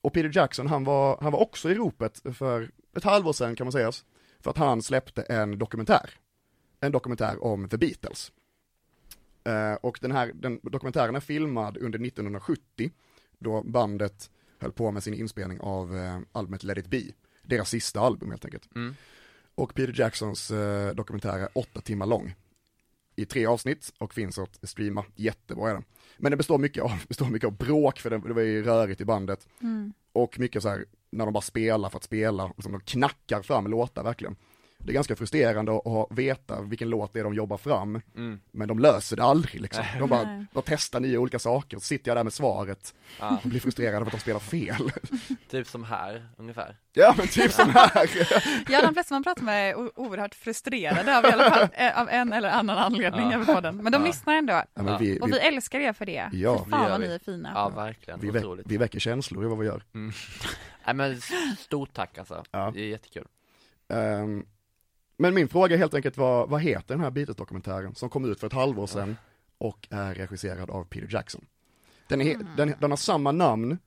C: och Peter Jackson, han var, han var också i ropet för ett halvår sedan kan man säga, för att han släppte en dokumentär. En dokumentär om The Beatles. Eh, och den här den dokumentären är filmad under 1970, då bandet höll på med sin inspelning av eh, albumet Let It Be, deras sista album helt enkelt.
E: Mm.
C: Och Peter Jacksons eh, dokumentär är åtta timmar lång. I tre avsnitt och finns att streama, jättebra är den. Men den består mycket av, består mycket av bråk för det, det var ju rörigt i bandet.
D: Mm.
C: Och mycket så här när de bara spelar för att spela, och som de knackar fram låtar verkligen. Det är ganska frustrerande att ha- veta vilken låt det är de jobbar fram,
E: Mm.
C: men de löser det aldrig liksom. De bara,
D: Nej.
C: de testar nya olika saker, så sitter jag där med svaret
E: Ja,
C: och blir frustrerad över att de spelar fel.
E: typ som här ungefär.
C: ja men typ som här.
D: Ja, de flesta man pratar med är o- oerhört frustrerade av, i alla fall, eh, av en eller annan anledning
E: Ja.
D: över podden. Men de
E: Ja.
D: lyssnar ändå.
C: Ja, men vi,
D: Och vi
C: vi,
D: älskar er för det.
C: Ja,
D: Fy
E: det
D: fan
E: gör
D: vad
E: vi.
D: ni är fina.
E: Ja, verkligen.
C: vi, väck,
E: Otroligt.
C: vi väcker känslor i vad vi gör.
E: Nej men s- stort tack alltså.
C: Ja.
E: Det är jättekul.
C: Ehm, men min fråga är helt enkelt vad, vad heter den här Beatles-dokumentären som kom ut för ett halvår sedan och är regisserad av Peter Jackson? Den, är, den, den har samma namn,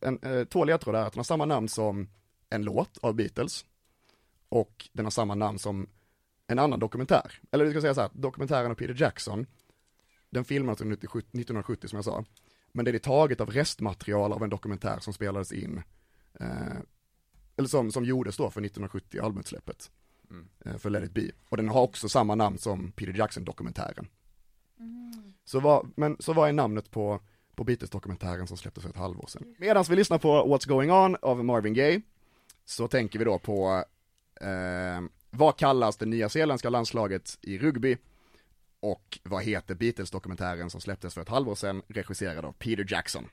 C: en eh, två ledtrådar är att den har samma namn som en låt av Beatles och den har samma namn som en annan dokumentär. Eller vi ska säga så här, dokumentären av Peter Jackson, den filmades under 1970 1970 som jag sa, men det är taget av restmaterial av en dokumentär som spelades in eh, eller som, som gjordes då för 1970 albutsläppet
E: Mm.
C: eh, för Let it be. Och den har också samma namn som Peter Jackson-dokumentären. Så, vad, men, så vad är namnet på, på Beatles-dokumentären som släpptes för ett halvår sedan? Medan vi lyssnar på What's going on av Marvin Gaye så tänker vi då på eh, vad kallas det nya zeeländska landslaget i rugby och vad heter Beatles-dokumentären som släpptes för ett halvår sedan regisserad av Peter Jackson?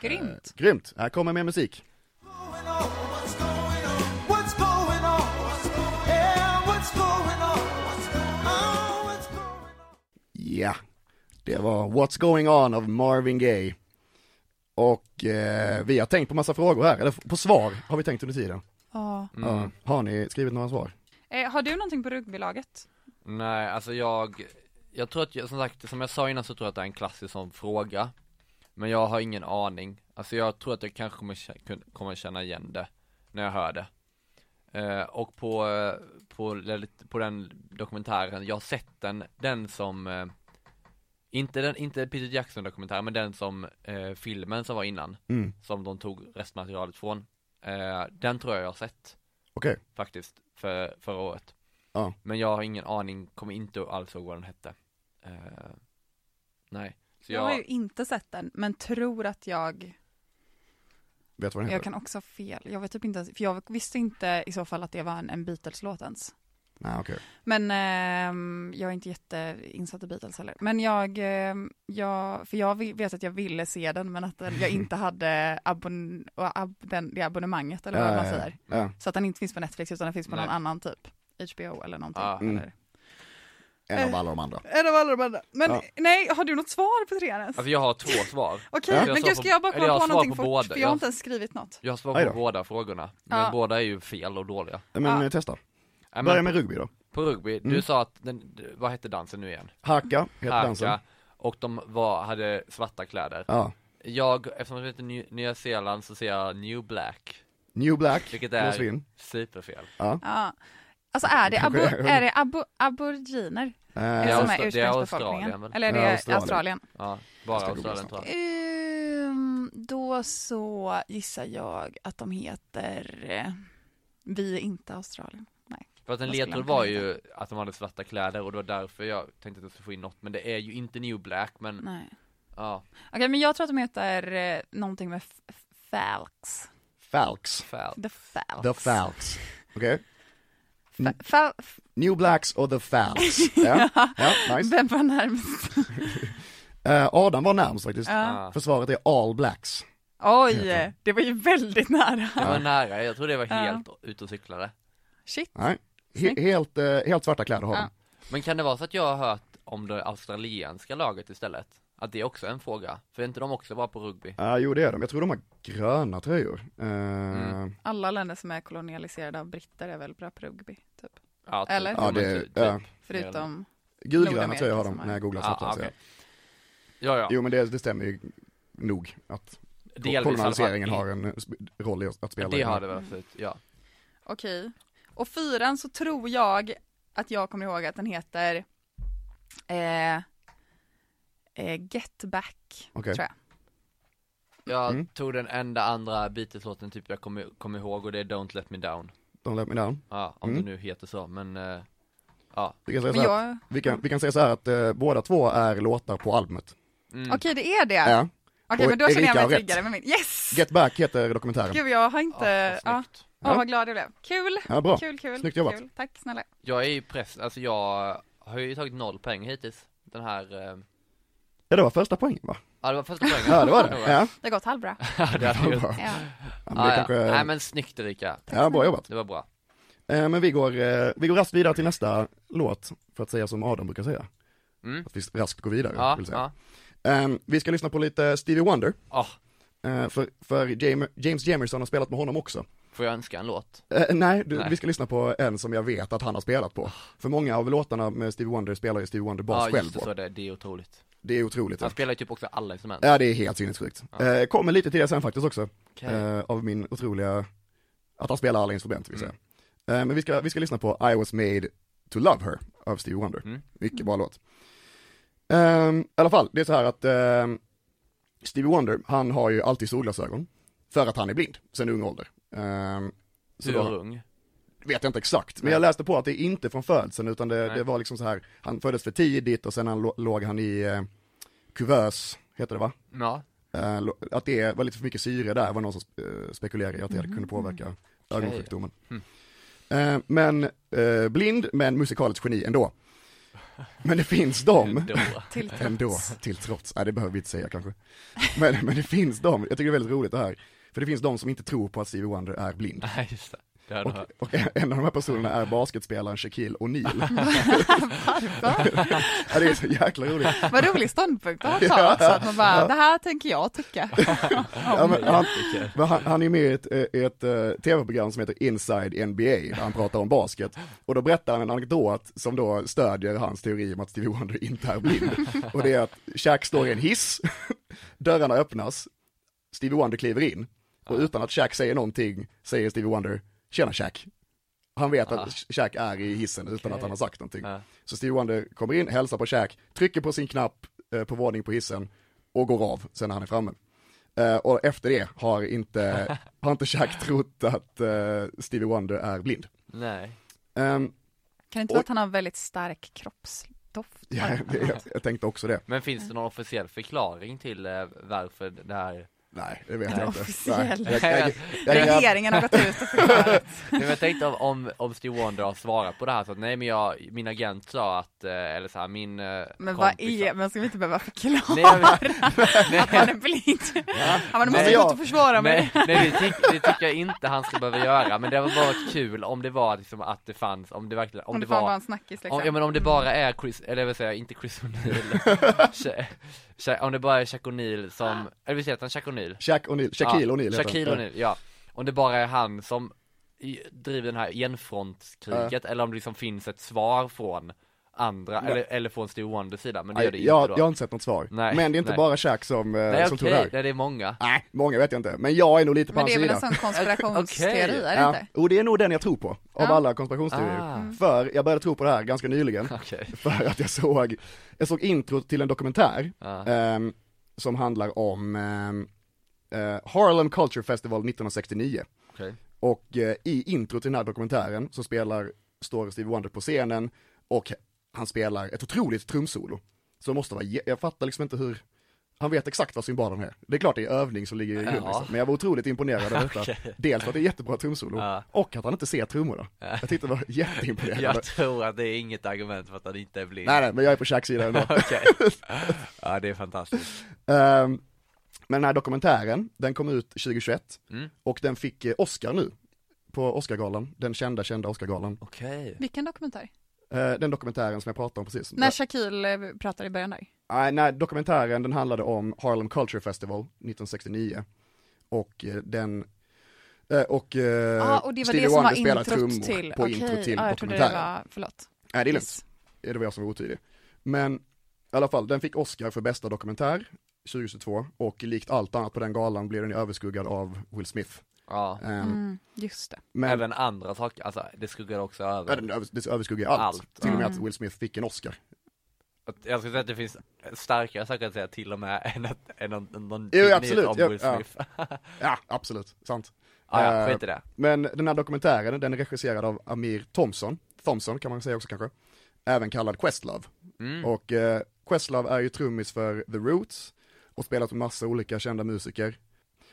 D: Grymt.
C: Grymt! Här kommer mer musik.
F: going on? What's going on? What's going on? Yeah, what's going on? Oh, what's going on?
C: Ja, det var What's going on av Marvin Gaye. Och eh, vi har tänkt på massa frågor här, eller på svar har vi tänkt under tiden.
D: Ja.
E: Mm.
C: Ja, har ni skrivit några svar?
D: Eh, har du någonting på rugbylaget?
E: Nej, alltså jag, jag tror att, jag, som sagt, som jag sa innan så tror jag att det är en klassisk sån fråga. Men jag har ingen aning. Alltså jag tror att jag kanske kommer, kä- kun- kommer känna igen det när jag hör det. Eh, och på, eh, på, lelit- på den dokumentären, jag har sett den, den som eh, inte, den, inte Peter Jackson-dokumentären, men den som eh, filmen som var innan,
C: Mm.
E: som de tog restmaterialet från. Eh, den tror jag jag har sett
C: Okej,
E: faktiskt för, förra året.
C: Ja.
E: Men jag har ingen aning, kommer inte alls ihåg vad den hette. Eh, nej, så
D: Jag
E: jag,
D: har ju inte sett den, men tror att jag,
C: vet du vad den
D: jag
C: heter?
D: kan också ha fel. Jag vet typ inte, ens- för jag visste inte i så fall att det var en, en Beatles-låt ens.
C: Nej, okej.
D: Men ehm, jag är inte jätteinsatt i Beatles heller. Men jag, ehm, jag för jag vi- vet att jag ville se den, men att den, jag inte hade abon, ab, den, det abonnemanget eller vad
C: Ja,
D: man
C: ja,
D: säger.
C: Eh, Ja.
D: Så att den inte finns på Netflix, utan den finns på
E: Nej.
D: någon annan typ. HBO eller någonting.
E: Ja.
C: Mm.
D: Eller.
C: En
D: Eh.
C: av alla de andra.
D: En av alla de andra. Men
C: Ja.
D: nej, har du något svar på det ens?
E: alltså jag har två svar.
D: Okej,
E: Ja.
D: men
E: Jag
D: gud
E: sa
D: ska
E: på-
D: jag bara
E: eller
D: komma
E: jag
D: på
E: svarar
D: någonting
E: på
D: fort,
E: båda.
D: för jag har
E: Jag-
D: inte ens skrivit något.
E: Jag har
C: Aj
E: svar
C: då.
E: på båda frågorna, men
D: Ja.
E: båda är ju fel och dåliga.
C: Men
D: Ja.
C: eh, testa,
E: Nej, men
C: börja med rugby då.
E: På rugby, du
C: Mm.
E: sa att, den, d- vad hette dansen nu igen?
C: Haka heter dansen.
E: och de var, hade svarta kläder.
C: Ja.
E: Jag, eftersom jag heter Ny- Nya Zeeland så ser jag New Black,
C: New Black,
E: vilket
C: låser vi
E: är
C: in.
E: superfel.
D: Ja. Alltså är det,
C: Kanske
D: abor-
C: det.
D: är det abor- aboriginer
C: Eh,
D: som
E: Ja,
D: är
E: Austra- det är
D: ursprungsbefolkningen?
E: Australien, väl?
D: Eller är
C: Ja,
D: det Australien?
C: Australien.
E: Ja,
C: Jag
E: bara
C: ska googla
E: Australien tror jag.
D: Ehm, då så gissar jag att de heter eh, Vi är inte Australien.
E: För att en
D: Vad skulle
E: ledtråd
D: man kunna
E: var ju att de hade svarta kläder och det var därför jag tänkte att jag skulle få in något men det är ju inte New Black men
D: Nej.
E: ja,
D: Okej, men jag tror att de heter eh, någonting med f- f- Falks.
C: Falcks.
E: fel.
D: The Falks.
C: The Falcks. Okej.
D: Fa- Fal- f-
C: New Blacks och The Falcks. Ja, ja nice.
D: Vem var närmast?
C: Eh, Adam var närmst faktiskt.
D: Ja.
E: Ah.
C: Försvaret är All Blacks.
D: Oj, det var ju väldigt nära.
E: Det var nära, jag tror det var
D: Ja.
E: helt ute och cyklade.
D: Shit.
C: Nej. He-
D: Snyggt.
C: helt, eh, helt svarta kläder har de.
D: Ja.
E: Men kan det vara så att jag har hört om det australienska laget istället? Att Att det är också en fråga, för är inte de också bara på rugby?
C: Ja, jo det är de. Jag tror de har gröna tröjor. Eh,
E: Mm.
D: Alla länder som är kolonialiserade av britter är väl bra på rugby, typ.
E: Ja,
D: Eller?
C: Ja,
E: men
C: det,
E: ty- typ.
C: ja.
D: Förutom,
C: Gulgröna
D: Nordamerika
C: tröjor har de
D: som är-
C: när jag googlar
E: Ja,
C: snabbt här, så
E: okej.
C: jag.
E: Ja, ja.
C: Jo men det, det stämmer ju nog att
E: Delvis i alla fall. Mm.
C: kolonialiseringen har en eh, sp- roll i att spela. i
E: Det
C: den här.
E: har det väl absolut, ja.
D: okej. Och fyran så tror jag att jag kommer ihåg att den heter eh, eh, Get Back,
C: Okej.
D: tror jag.
E: Jag
C: Mm.
E: tog den enda andra Beatles-låten typ jag kommer kom ihåg och det är Don't Let Me Down.
C: Don't let me down.
E: Ja, om
C: Mm.
E: det nu heter så, men eh,
C: Vi kan säga så
D: Men
C: här,
D: jag,
C: vi, kan, vi kan säga så här att eh, båda två är låtar på albumet.
E: mm.
D: okej det är det.
C: Ja.
D: Okej
C: Och
D: men då känner
C: Erika
D: jag
C: har
D: mig
C: rätt.
D: tryggare med min. Yes!
C: Get Back heter dokumentären.
D: Gud jag har
E: ja,
D: inte,
E: vad
D: eh, ja,
E: snyggt.
D: Åh
C: Ja.
D: vad glad jag blev. Kul!
C: Ja, bra.
D: Kul, kul,
C: Snyggt jobbat.
D: kul. Tack snälla.
E: Jag är ju press, alltså jag har ju tagit noll poäng hittills, den här, eh,
C: Ja, det var första poängen va?
E: ja det var första poängen
C: Ja, det var det. Ja,
D: Det har gått halvbra.
E: Ja, det hade
C: ja,
E: jag gjort.
C: bra.
D: Ja.
C: ja, men
E: Ja,
C: det
E: ja.
C: kanske,
E: Nej men snyggt Erika,
C: ja, bra jobbat.
E: det var bra.
C: Eh, men vi går, eh, vi går raskt vidare till nästa låt, för att säga som Adam brukar säga.
E: Mm.
C: Att vi raskt går vidare,
E: Ja,
C: vill säga.
E: ja.
C: Ehm, vi ska lyssna på lite Stevie Wonder,
E: Åh,
C: eh, för, för Jam- James Jamerson har spelat med honom också.
E: får jag önska en låt?
C: Eh, nej, du,
E: Nej.
C: vi ska lyssna på en som jag vet att han har spelat på. För många av låtarna med Stevie Wonder spelar ju Stevie Wonder bas
E: Ja
C: själv
E: just det,
C: på.
E: så det, det är otroligt.
C: Det är otroligt.
E: Han spelar ju typ också alla instrument.
C: Ja, det är helt sinnessjukt.
E: Ja.
C: Eh, kommer lite till det sen faktiskt också,
E: Okej.
C: eh, av min otroliga, att han spelar alla instrument vill säga.
E: Mm.
C: Eh, men vi ska, vi ska lyssna på I was made to love her av Stevie Wonder.
E: Mm.
C: Mycket bra låt. Ehm, I alla fall, det är så här att ehm, Stevie Wonder, han har ju alltid solglasögon, för att han är blind, sen ung ålder. Ehm, så
E: Hur
C: då
E: ung?
C: vet jag inte exakt, men
E: Nej.
C: jag läste på att det är inte från födseln utan det,
E: Nej.
C: det var liksom så här, han föddes för tidigt och sen han, lo- låg han i eh, kuvös, heter det va?
E: Ja,
C: Eh, lo- att det var lite för mycket syre där var någon som eh, spekulerade i att det kunde påverka ögonsjukdomen.
E: Mm.
C: Eh, Men eh, blind, men musikaliskt geni ändå. Men det finns de,
E: då.
D: Till
C: ändå, till trots, nej det behöver vi inte säga kanske. Men, men det finns de, jag tycker det är väldigt roligt det här, för det finns de som inte tror på att Stevie Wonder är blind.
E: Nej just det, det hade
C: Och,
E: jag hört.
C: och en av de här personerna är basketspelaren Shaquille O'Neal.
D: Varför?
C: Ja, det är så jäkla roligt.
D: Vad rolig ståndpunkt att ha också, att man bara, det här tänker jag tycka.
C: Ja, men han, men han, han är med i ett, eh, i ett eh, tv-program som heter Inside NBA, där han pratar om basket. Och då berättar han en anekdot som då stödjer hans teori om att Stevie Wonder inte är blind. Och det är att Shaq står i en hiss, dörrarna öppnas, Stevie Wonder kliver in, och utan att Shaq säger någonting säger Stevie Wonder, tjena Shaq. Han vet att Shaq är i hissen utan att han har sagt någonting.
E: Ja.
C: Så Stevie Wonder kommer in, hälsar på Shaq, trycker på sin knapp eh, på våning på hissen och går av sen när han är framme. Eh, och efter det har inte, har inte Shaq trott att eh, Stevie Wonder är blind.
E: Nej.
C: Ehm,
D: Kan det inte vara att han har en väldigt stark kroppsdoft?
C: ja, det, jag, jag tänkte också det.
E: Men finns det någon officiell förklaring till eh, varför det här?
C: Nej, det vet jag inte.
D: Officiell.
C: Nej, jag, jag, jag, jag, jag,
D: Regeringen har gått ut och förklarat.
E: Nej, men jag tänkte om, om, om Steve Wonder har svarat på det här så att nej men jag, min agent sa att, eh, eller så här min eh,
D: Men vad
E: kompis
D: är,
E: sa-
D: men ska vi inte behöva
E: Nej,
D: förklara
E: jag vet-
D: att han är blind? Ja, men du måste
E: Nej,
D: gå
C: jag-
D: ut och försvara mig.
E: nej, nej det, tyck, det tycker jag inte han ska behöva göra, men det var bara kul om det var liksom att det fanns, om det verkligen, om,
D: Om
E: det
D: det fan var
E: var
D: en snackis
E: om, ja
D: liksom.
E: men om det bara är Chris, eller jag vill säga inte Chris O'Neill, Sha- Sha- om det bara är Shaq O'Neill som, eller vi säger att han Shaq O'Neill
C: Shaq O'Neal, Shaquille O'Neal heter han.
E: Shaquille O'Neal, ja. Om det bara är han som i- driver den här enfrontskriget, eller om det liksom finns ett svar från andra, eller, eller från Steve Wonders sida, men det
C: Nej,
E: gör det inte
C: jag,
E: då.
C: jag har inte sett något svar.
E: Nej,
C: men det är inte
E: nej.
C: bara Shaq som, eh,
E: Nej
C: som
E: okej,
C: tror det här.
E: nej, det är många.
C: Nej, många vet jag inte. Men jag är nog lite på
D: Men
C: hans
D: det är väl
C: sida.
D: en sån konspirationsteori, är det
C: Ja,
D: inte?
C: Och det är nog den jag tror på, av
D: Ja.
C: alla konspirationsteorier.
E: Ah.
C: För jag började tro på det här ganska nyligen,
E: Okej.
C: för att jag såg, jag såg intro till en dokumentär
E: Ja.
C: ehm, som handlar om ehm, eh, Harlem Culture Festival 1969.
E: Okej.
C: Och eh, i intro till den här dokumentären så spelar, står Stevie Wonder på scenen och han spelar ett otroligt trumsolo. Så det måste vara, jä- jag fattar liksom inte hur, han vet exakt vad cymbalen är. Det är klart det är övning som ligger i grunden,
E: Ja.
C: liksom. men jag var otroligt imponerad av detta. Dels för att det är jättebra trumsolo,
E: Ja.
C: och att han inte ser trummorna. Jag tyckte det var jätteimponerande.
E: Jag tror att det är inget argument för att han inte är blind.
C: Nej nej, men jag är på Shacks sida ändå.
E: Okej. Ja det är fantastiskt.
C: Ehm, men den här dokumentären, den kom ut 2021
E: Mm.
C: och den fick eh, Oscar nu på Oscargalan, den kända, kända Oscargalan.
E: Okej.
D: Vilken dokumentär?
C: Eh, den dokumentären som jag pratade om precis.
D: När Shaquille eh, pratade i början där.
C: Nej, Ah, nej, dokumentären den handlade om Harlem Culture Festival 1969 och eh, den eh, och, eh,
D: ah, och det var
C: Stevie
D: det som var
C: Wonder spelar
D: introt
C: trummor
D: till,
C: på intro till
D: ah, jag trodde det
C: dokumentären.
D: var, förlåt.
C: Nej, det är lugnt.
D: Yes.
C: Det var jag som var otydlig. Men i alla fall, den fick Oscar för bästa dokumentär 2022 och likt allt annat på den galan blev den ju överskuggad av Will Smith.
E: Ja.
C: Ehm,
D: Mm, just det.
C: Men
E: Även andra saker, alltså det skuggade också
C: ja,
E: över.
C: den övers- det överskuggar allt.
E: Allt.
C: Till och med
D: Mm.
C: att Will Smith fick en Oscar.
E: Att- Jag skulle säga att det finns starkare saker att säga till och med än att, än någon, någon
C: Jo,
E: nyhet
C: absolut,
E: om
C: ja,
E: Will
C: ja.
E: Smith.
C: Ja, absolut, sant.
E: Ja, ja,
C: Eh,
E: skit i det.
C: Men den här dokumentären, den är regisserad av Amir Thompson, Thompson kan man säga också kanske, även kallad Questlove.
E: Mm.
C: Och eh, Questlove är ju trummis för The Roots och spelat med massa olika kända musiker.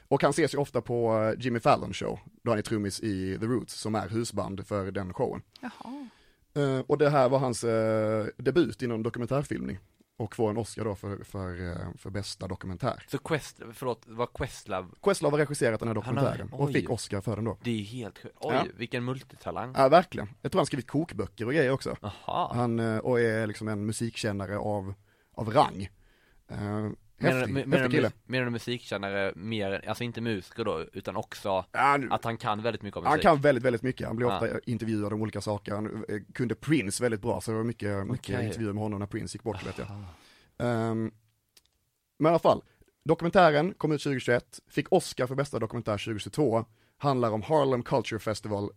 C: Och han ses ju ofta på eh, Jimmy Fallon show, då han är trummis i The Roots som är husband för den showen.
D: Jaha.
C: Eh, och det här var hans eh, debut inom dokumentärfilmning och får en Oscar då för, för, eh, för bästa dokumentär.
E: Så Quest, förlåt, var Questlove,
C: Questlove har regisserat den här
E: Han har-
C: dokumentären och
E: oj.
C: fick Oscar för den då.
E: det är ju helt sjukt. Oj,
C: Ja.
E: vilken multitalang.
C: Ja, verkligen. Jag tror han skrivit kokböcker och grejer också.
E: Jaha.
C: Han eh, och är liksom en musikkännare av, av rang. Eh,
E: Menar,
C: häftig,
E: du- menar,
C: häftig
E: du
C: kille.
E: mus- menar du musikkännare mer, alltså inte musiker då, utan också
C: Ja, nu-
E: att han kan väldigt mycket om
C: han
E: musik?
C: kan väldigt, väldigt mycket. Han blir
E: Ja.
C: ofta intervjuad om olika saker. Han eh, kunde Prince väldigt bra, så det var mycket, mycket
E: Okej.
C: intervjuer med honom när Prince gick bort, vet jag. Ehm, men i alla fall, dokumentären kom ut 2021, fick Oscar för bästa dokumentär 2022, handlar om Harlem Culture Festival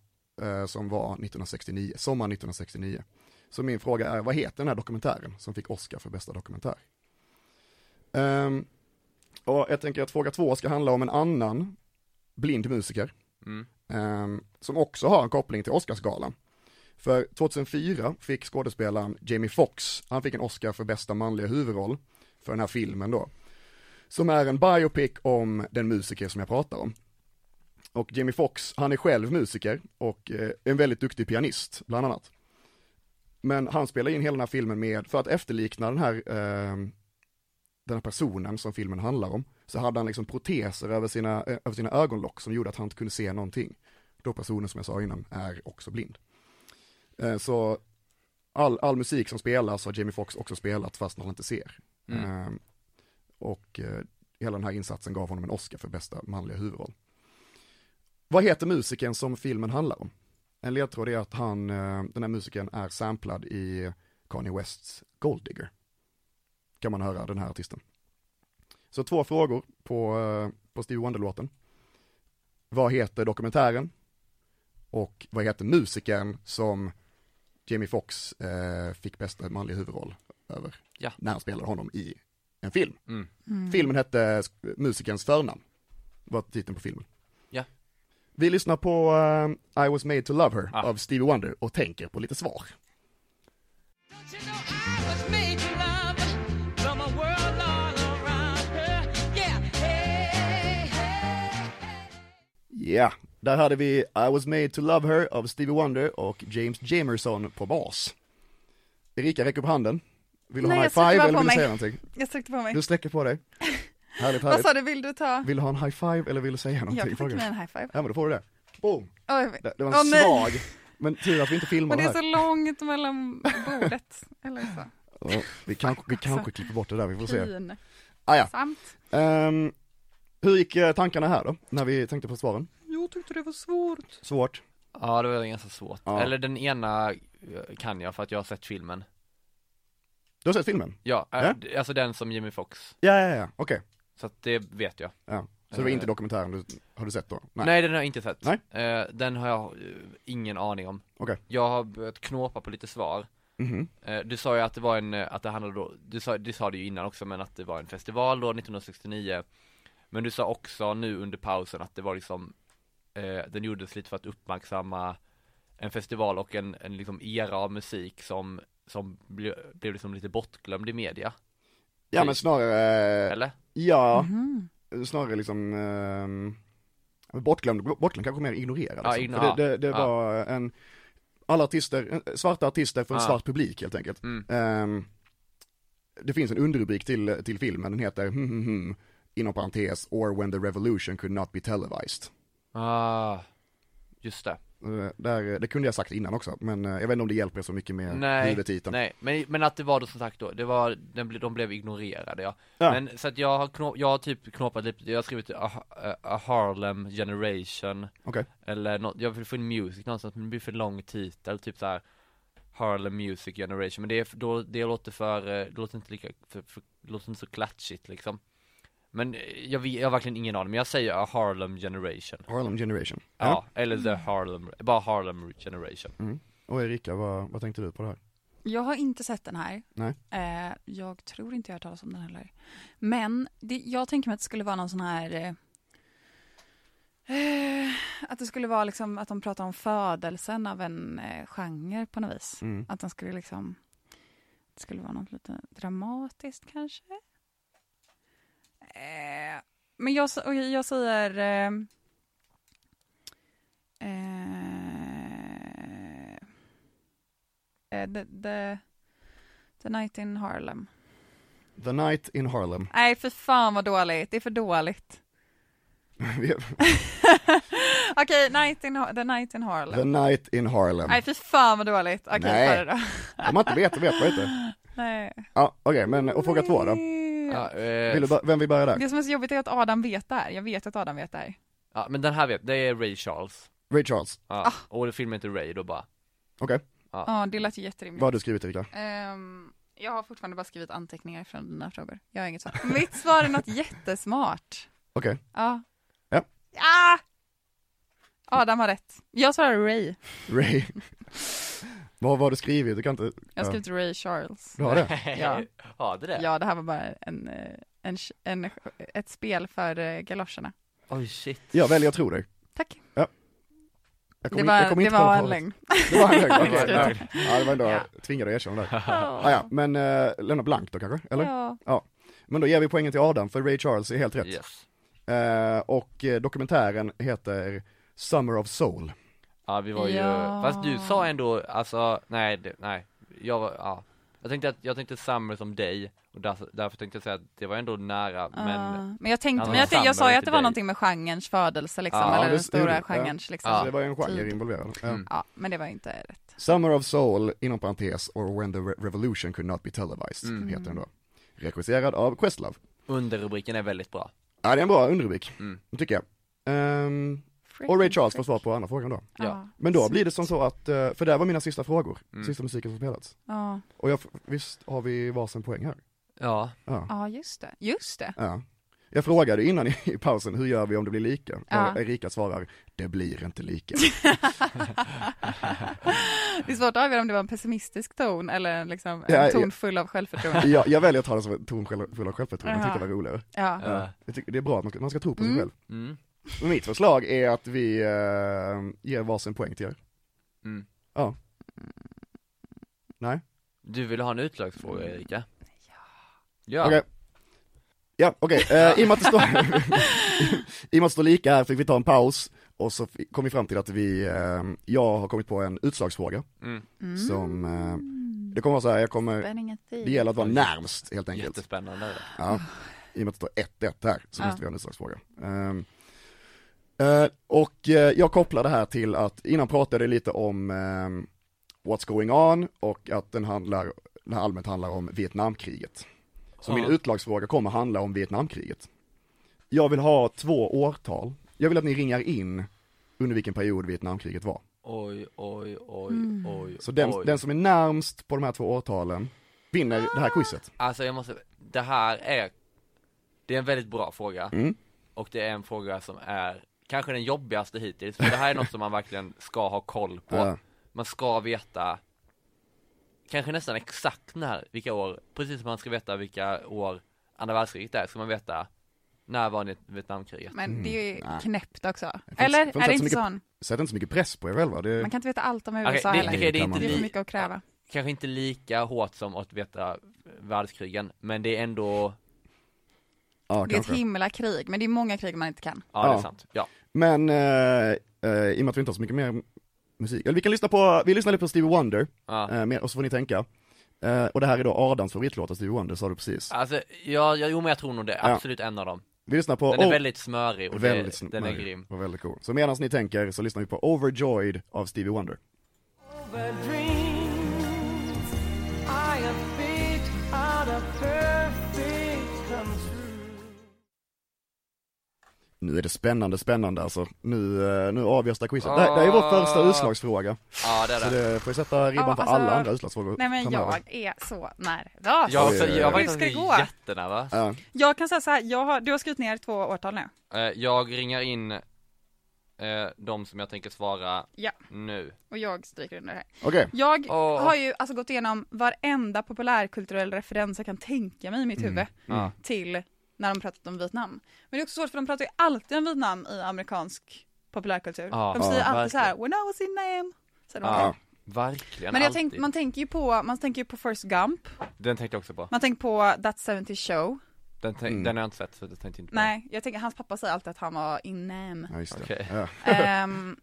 C: eh, som var 1969, sommaren 1969. Så min fråga är, vad heter den här dokumentären som fick Oscar för bästa dokumentär? Ehm, och jag tänker att fråga två ska handla om en annan blind musiker,
E: Mm.
C: ehm, som också har en koppling till Oscarsgalan. För 2004 fick skådespelaren Jamie Foxx, han fick en Oscar för bästa manliga huvudroll för den här filmen då. Som är en biopic om den musiker som jag pratar om. Och Jamie Foxx, han är själv musiker och eh, en väldigt duktig pianist, bland annat. Men han spelar in hela den här filmen med, för att efterlikna den här, eh, den här personen som filmen handlar om, så hade han liksom proteser över sina, eh, över sina ögonlock som gjorde att han inte kunde se någonting. Då personen som jag sa innan är också blind. Eh, så all, all musik som spelas har Jamie Foxx också spelat fast han inte ser.
E: Mm.
C: Eh, och eh, hela den här insatsen gav honom en Oscar för bästa manliga huvudroll. Vad heter musikern som filmen handlar om? En ledtråd är att han, eh, den här musikern är samplad i Kanye Wests Gold Digger. Kan man höra den här artisten. Så två frågor på, eh, på Stevie Wonder-låten. Vad heter dokumentären? Och vad heter musikern som Jamie Foxx eh, fick bästa manliga huvudroll över?
E: Ja.
C: När han spelade honom i en film.
E: Mm.
D: Mm.
C: Filmen hette sk- Musikerns förnamn, var titeln på filmen.
E: Ja.
C: Vi lyssnar på eh, I was made to love her
E: Ah.
C: av Stevie Wonder och tänker på lite svar.
F: Don't you know I was made to love from a world all around her? Yeah, hey, hey, hey.
C: Ja, där hade vi I was made to love her av Stevie Wonder och James Jamerson på bas. Erika, räck upp handen. Vill du
D: Nej,
C: ha en
D: jag
C: high
D: sträcker
C: five
D: bara
C: eller
D: på
C: vill du
D: mig.
C: säga någonting?
D: Jag sträckte på mig.
C: Du sträcker på dig. Härligt,
D: Vad
C: härligt.
D: sa du, vill du ta?
C: Vill du ha en high five eller vill du säga
D: Jag
C: någonting?
D: kan skicka
C: Frågar
D: mig
C: du.
D: en high five.
C: Ja, men då får du det. Boom!
D: Oj,
C: Det, det var en
D: Åh, nej.
C: svag, men tur att vi inte filmar
D: men
C: det
D: det
C: här.
D: är så långt mellan bordet. Eller så.
C: Ja, vi kanske, vi kanske klipper bort det där, vi får se.
D: Fin.
C: Ah, ja.
D: Samt.
C: Ehm, hur gick eh, tankarna här då, när vi tänkte på svaren?
D: Jag tyckte det var svårt.
C: Svårt.
E: Ja, det var ganska svårt.
C: Ja.
E: Eller den ena eh, kan jag för att jag har sett filmen.
C: Du har sett filmen?
E: Ja, eh,
C: Ja.
E: d- alltså den som Jimmy Fox.
C: Ja, ja, ja, okej.
E: Så att det vet jag.
C: Ja. Så det var
E: Eh.
C: inte dokumentären du, har du sett då?
E: Nej, den har jag inte sett.
C: Nej.
E: Eh, den har jag eh, ingen aning om.
C: Okej.
E: Jag har börjat knåpa på lite svar.
C: Mhm.
E: Eh, Du sa ju att det var en, eh, att det handlade då, du sa, du sa det ju innan också men att det var en festival då 1969 Men du sa också nu under pausen att det var liksom eh, Den gjordes lite för att uppmärksamma En festival och en, en liksom era av musik som Som blev, blev liksom lite bortglömd i media,
C: Ja, men snarare, eh,
E: eller?
C: ja, snarare liksom ehm, bortglömd, bortglömd kanske mer ignorerad.
E: Ja,
C: liksom.
E: igno-
C: För det, det, det
E: ja.
C: var en, alla artister, eh, svarta artister för en
E: Ja.
C: svart publik helt enkelt.
E: Mm.
C: Ehm, det finns en underrubrik till, till filmen, den heter hmm, hmm, hmm, inom parentes, or when the revolution could not be televised.
E: Ah, Just det.
C: Eh, Där, det kunde jag sagt innan också, men eh, jag vet inte om det hjälper så mycket med
E: Nej,
C: huvudtiteln.
E: Nej, men, men att det var då som sagt då, det var, den, ble- de blev ignorerade ja.
C: Ja.
E: Men så att jag har, knå, jag har typ knåpat lite, jag har skrivit a, a, a Harlem generation
C: Okej.
E: Eller nå, jag vill få in music någonstans men det blir för lång titel, typ så här Harlem music generation, men det, är, f- då, det låter för, eh, det låter inte lika, för, för, det låter inte så klatschigt liksom Men eh, jag, vet- jag har verkligen ingen aning, men jag säger a Harlem generation
C: Harlem Generation.
E: Ja, eller the Harlem, bara Harlem generation
C: Och Erika, vad, vad tänkte du på det här?
D: Jag har inte sett den här.
C: Nej.
D: Eh, jag tror inte jag har hört talas om den heller. Men det, jag tänker mig att det skulle vara någon sån här... eh, Eh, att det skulle vara liksom att de pratar om födelsen av en eh, genre på något vis.
C: Mm.
D: Att den skulle liksom... Det skulle vara något lite dramatiskt kanske. Eh, men jag, s- och jag säger... Eh, eh, eh, the, the, the Night in Harlem.
C: The Night in Harlem.
D: Nej, för fan vad dåligt. Det är för dåligt.
C: Vi-
D: Okej, night in, Har- The Night in
C: The
D: Harlem.
C: Night in Harlem.
D: Nej, för fan vad dåligt. Okej,
C: Nej.
D: ta det då.
C: Om man inte vet, så vet man inte.
D: Nej.
C: Ja, okej, men och fråga två då.
D: Nej.
E: Ja, eh,
C: Vill du, bör- vem vill börja där?
D: Det som är så jobbigt är att Adam vet det här. Jag vet att Adam vet det här.
E: Ja men den här vet, det är Ray Charles
C: Ray Charles,
D: Ah.
E: ja. Och det filmen heter Ray då bara
C: okej.
E: Ja.
D: Ja, det lät ju
C: Vad
D: jätterimligt.
C: har du skrivit Erika?
D: Ehm, jag har fortfarande bara skrivit anteckningar från dina frågor. Jag har inget svar. Mitt svar är något jättesmart.
C: Okej,
D: Ja.
C: Ja.
D: Ah! Adam har rätt. Jag svarar Ray.
C: Ray. vad, vad har du skrivit? Du kan inte... Ja.
D: Jag har skrivit Ray Charles.
C: Du har det?
D: Ja.
E: ja det är det?
D: Ja, det här var bara en, eh, en, en, ett spel för eh, galoscherna.
E: Oj shit
C: Ja, väl, jag tror dig.
D: Tack.
C: Jag
D: Det
C: in- jag
D: var, det
C: på
D: var en
C: vad-
D: lögn.
C: Det var en lögn,
D: Ja,
C: okej.
D: absolut.
C: ja. ja, det var ändå,
D: Ja.
C: jag tvingade att erkänna det. här. Ah, ja, men eh, lämna blankt då kanske, eller?
D: Ja.
C: Men då ger vi poängen till Adam, för Ray Charles är helt rätt.
E: Yes.
C: Eh, och eh, dokumentären heter Summer of Soul.
E: Ja vi var ju,
D: Ja.
E: fast du sa ändå, alltså, nej, det, nej, jag var, ja Jag tänkte att, jag tänkte Summer som dig, och där, därför tänkte jag säga att det var ändå nära, men
D: Ah, men jag tänkte,
E: Ja,
D: men jag, tänkte, jag
E: samlar
D: sa ju
E: inte
D: att det var
E: dig.
D: någonting med genrens födelse liksom,
E: Ja,
D: eller
C: det
D: den
C: ser du.
D: stora
C: Ja.
D: genrens liksom.
C: Så
E: Ja.
D: Ja.
C: det var ju en genre
D: Tid.
C: involverad. Ja.
E: Mm.
D: men det var inte rätt.
C: Summer of Soul, inom parentes, or when the re- revolution could not be televised,
E: Mm.
C: heter den då. Regisserad av Questlove.
E: underrubriken är väldigt bra
C: Ja, det är en bra underrubrik,
E: Mm.
C: tycker jag. Ehm, och Ray Charles får svar på andra frågan då.
E: Ja.
C: Men då blir det som så att, eh, för där var mina sista frågor,
E: Mm.
C: sista musiken som spelats.
D: Ja,
C: Och jag, f- visst har vi varsin poäng här?
E: Ja,
C: Ja.
D: ja just det. Just det.
C: ja. Jag frågade innan i, i pausen, hur gör vi om det blir lika?
D: Ja.
C: Och Erika svarar, det blir inte lika.
D: Det är svårt att avgöra om det var en pessimistisk ton eller liksom en
C: Ja, ja.
D: ton full av självförtroende.
C: jag, jag väljer att ta det som en ton själv- full av självförtroende, jag
D: Jaha.
C: tyckte det var roligare.
D: Ja.
E: Ja.
C: Jag tycker det är bra att man ska, man ska tro på sig
D: Mm.
C: själv.
E: mm,
C: Men mitt förslag är att vi eh, ger varsin poäng till er.
E: mm
C: Ja. Nej.
E: Du vill ha en utslagsfråga Erika? Ja
C: Okej. Ja, okej. Eh, I och med att det står, i och med att det står lika här fick vi ta en paus och så fi- kom vi fram till att vi, eh, jag har kommit på en utslagsfråga
E: mm.
D: Mm.
C: som, eh, det kommer vara så här, jag kommer,
D: Spänningen
C: det gäller att vara närmst helt enkelt.
E: Jättespännande är det.
C: Ja, i och med att det står 1-1 här så
D: Ja.
C: måste vi ha en utslagsfråga. Ehm, eh, och eh, jag kopplar det här till att innan pratade jag lite om ehm, What's going on och att den handlar, den här allmänt handlar om Vietnamkriget. Så min
E: Ja.
C: utslagsfråga kommer handla om Vietnamkriget. Jag vill ha två årtal. Jag vill att ni ringar in under vilken period Vietnamkriget var.
E: Oj, oj, oj,
D: Mm.
E: oj,
C: Så den,
E: oj.
C: den som är närmst på de här två årtalen vinner det
D: Ah.
C: här quizet.
E: Alltså jag måste, det här är, det är en väldigt bra fråga
C: Mm.
E: Och det är en fråga som är kanske den jobbigaste hittills, för det här är något som man verkligen ska ha koll på
C: Ja.
E: Man ska veta Kanske nästan exakt när, vilka år, precis som man ska veta vilka år andra världskriget är, ska man veta När var ni- Vietnamkriget?
D: Men det är ju
C: Mm.
D: knäppt också.
C: finns-
D: Eller?
C: det finns
D: är
C: inte
D: det
C: så
D: inte
C: mycket-
D: sån?
C: Sätt inte så mycket press på er själva. Det...
D: Man kan inte veta allt om USA
E: Okej,
D: heller.
E: det, det, det är
C: kan
E: inte
C: man
D: Det är för
E: li,
D: mycket att kräva.
E: kanske inte lika hårt som att veta världskrigen, men det är ändå,
C: ja,
D: Det är ett
C: kanske.
D: himla krig, men det är många krig man inte kan.
E: ja, det
C: Ja.
E: är sant, ja
C: Men eh, eh, i och med att vi inte har så mycket mer musik, eller vi kan lyssna på, vi lyssnar lite på Stevie Wonder,
E: Ja.
C: eh, mer, och så får ni tänka. Eh, och det här är då Adams favoritlåt av Stevie Wonder, sa du precis.
E: Alltså, ja, ja, jo men jag tror nog det,
C: Ja.
E: absolut en av dem
C: Vi lyssnar på
E: Den är
C: Oh-
E: väldigt smörig och det,
C: väldigt
E: den är
C: snygg.
E: grym.
C: Och väldigt cool. Så medan ni tänker så lyssnar vi på Overjoyed av Stevie Wonder.
F: over dreams. I am fit out of perfect come true.
C: Nu är det spännande, spännande alltså. Nu, eh, nu avgörs det här quizet. Det, det här är vår
E: Ah.
C: första utslagsfråga.
E: Ja det är
C: Så
E: det.
C: det får ju sätta ribban
D: Ja,
C: för
D: alltså-
C: alla andra utslagsfrågor
D: Nej men
C: framöver.
D: jag är så nervös.
E: Jag,
C: Oj, oj, oj.
E: jag var
D: Hur ska det
E: faktiskt
D: gå?
E: jättenervös.
C: Ja.
D: Jag kan säga så här, jag har, du har skrivit ner två årtal nu.
E: Eh, Jag ringar in eh, de som jag tänker svara
D: Ja.
E: nu.
D: Och jag stryker under här.
C: Okej,
D: Jag
E: Åh.
D: har ju alltså gått igenom varenda populärkulturell referens jag kan tänka mig i mitt
E: Mm.
D: huvud
E: Ja.
D: till när de pratat om Vietnam. Men det är också svårt för de pratar ju alltid om Vietnam i amerikansk populärkultur.
E: Ja,
D: de säger
C: ja,
D: alltid så här, when I was in Nam. Säger de
E: Ja,
D: alltid.
E: Verkligen,
D: Men jag
E: alltid.
D: tänk, man tänker ju på, man tänker ju på First Gump,
E: Den tänkte jag också på.
D: man tänker på That 70 Show.
E: Den, tänk,
C: Mm.
E: den har jag inte sett så jag tänkte inte på
D: Nej, jag tänker, hans pappa säger alltid att han var in Nam.
C: ja, just det.
E: Okej.
C: Ja.
D: Ehm,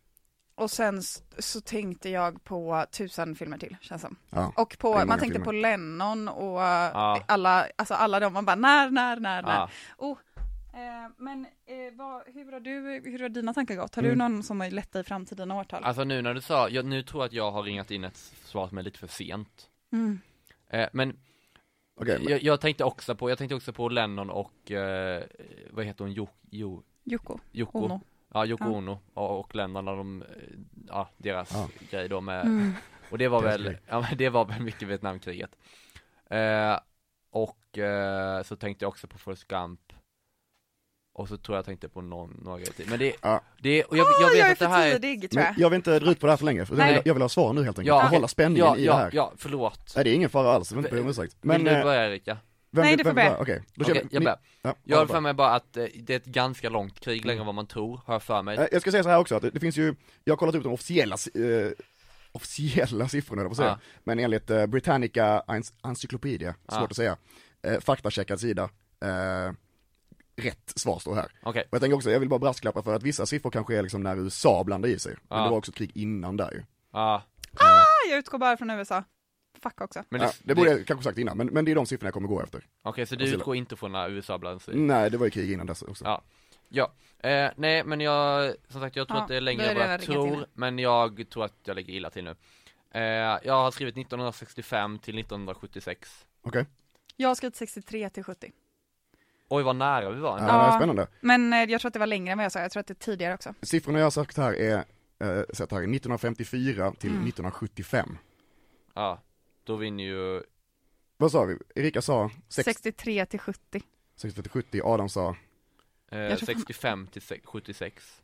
D: och sen s- så tänkte jag på tusen filmer till, känns som.
C: Ja.
D: Och
C: Det är
D: på,
C: många
D: man tänkte
C: filmer.
D: på Lennon och alla, alltså alla de, man bara när, när, när, när.
E: Ja.
D: Oh. Eh, men eh, vad, hur, har du, hur har dina tankar gått?
E: Mm.
D: Har du någon som har lett dig fram till dina årtal?
E: Alltså nu när du sa, jag, nu tror jag att jag har ringat in ett svar som är lite för sent.
D: Mm.
E: Eh, men
C: Okej, men-
E: jag, jag tänkte också på, jag tänkte också på Lennon och, eh, vad heter hon, jo, jo,
D: Jocko
E: Joko?
D: Ono.
E: Ja, Joko
D: Ja.
E: Ono och, och Lennon när de, eh, ja, deras
C: Ja.
E: grej då med,
D: Mm.
E: och det var
C: Deras
E: väl,
C: grej.
E: ja men det var väl mycket Vietnamkriget. Eh, och eh, så tänkte jag också på Forrest Gump. Och så tror jag tänkte på någon, några grejer till. Men det,
C: Ja.
E: det, och jag,
D: Ah,
E: jag vet
D: jag är
E: att det
D: för
E: här är,
D: tidig tror
C: Men
D: jag.
C: jag vill inte dra ut på det här för länge, för jag
E: Nej.
C: vill, jag vill ha svar nu helt enkelt,
E: Ja.
C: och hålla spänningen
E: ja,
C: i det
E: ja,
C: här.
E: ja, förlåt.
C: Nej det är ingen fara alls, jag vill inte be om ursäkt. Men,
E: Vill du
C: eh,
E: börja Erika?
C: vem,
D: Nej,
C: vill-
D: du får
C: vem vill
D: börja.
C: börja? Okej, då kör
E: Okej,
C: vi.
E: jag
C: Ni-
E: börjar.
C: Ja,
E: Jag har
C: börja.
E: för mig bara att eh, det är ett ganska långt krig,
C: Mm.
E: längre än vad man tror, har jag för mig.
C: Eh, Jag ska säga så här också, att det, det finns ju, jag har kollat upp de officiella, eh, officiella siffrorna, på säga.
E: Ja.
C: Men enligt eh, Britannica Enc- Encyclopedia, svårt
E: Ja.
C: att säga, eh, faktacheckad sida, eh, rätt svar står här.
E: Okej,
C: Och jag tänker också, jag vill bara brasklappa för att vissa siffror kanske är liksom när USA blandar i sig, men
E: Ja.
C: det var också ett krig innan där ju.
E: ja.
D: Ah, jag utgår bara från USA. Fuck också.
E: Men
C: Ja, det borde jag kanske sagt innan, men, men det är de siffrorna jag Mm. kommer gå efter.
E: Okej, så du
C: Alltså,
E: utgår inte från när USA blandar sig i?
C: Nej, det var ju krig innan dess också.
E: typ. Ja. Ja, eh, nej men jag, som sagt jag tror
D: Ja,
E: att det är
D: då
E: längre
D: är
E: än vad
D: det
E: jag
D: redan ringat
E: tror, men jag tror att jag ligger illa till nu eh, Jag har skrivit 1965 till 1976
C: Okej,
D: Jag har skrivit 63 till 70.
E: Oj vad nära vi var
C: ja,
E: ändå.
C: det
D: Ja.
C: är spännande.
D: Men eh, jag tror att det var längre än vad jag sa, jag tror att det är tidigare också.
C: Siffrorna jag har sagt här är, eh, sett här, är 1954 till 1975.
E: Ja, då vinner ju,
C: Vad sa vi? Erika sa 60
D: 63 till 70.
C: 60 till 70, Adam sa
E: eh,
D: tror fan-
E: 65 till se- 76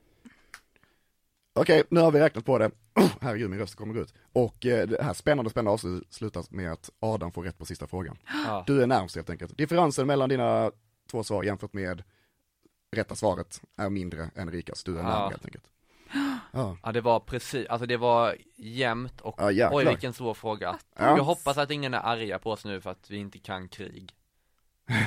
C: Okej, nu har vi räknat på det. Oh, Herregud, min röst kommer ut. Och eh, det här spännande, spännande avslutet slutas med att Adam får rätt på sista frågan.
E: ja.
C: Du är närmst helt enkelt. Differensen mellan dina två svar jämfört med rätta svaret är mindre än Rikas. Du är närmare
E: Ja.
C: helt enkelt. Ja,
E: ja, det var precis, alltså det var jämnt och
C: ja jäklar.
E: Oj vilken svår fråga.
C: Ja.
E: Jag hoppas att ingen är arga på oss nu för att vi inte kan krig.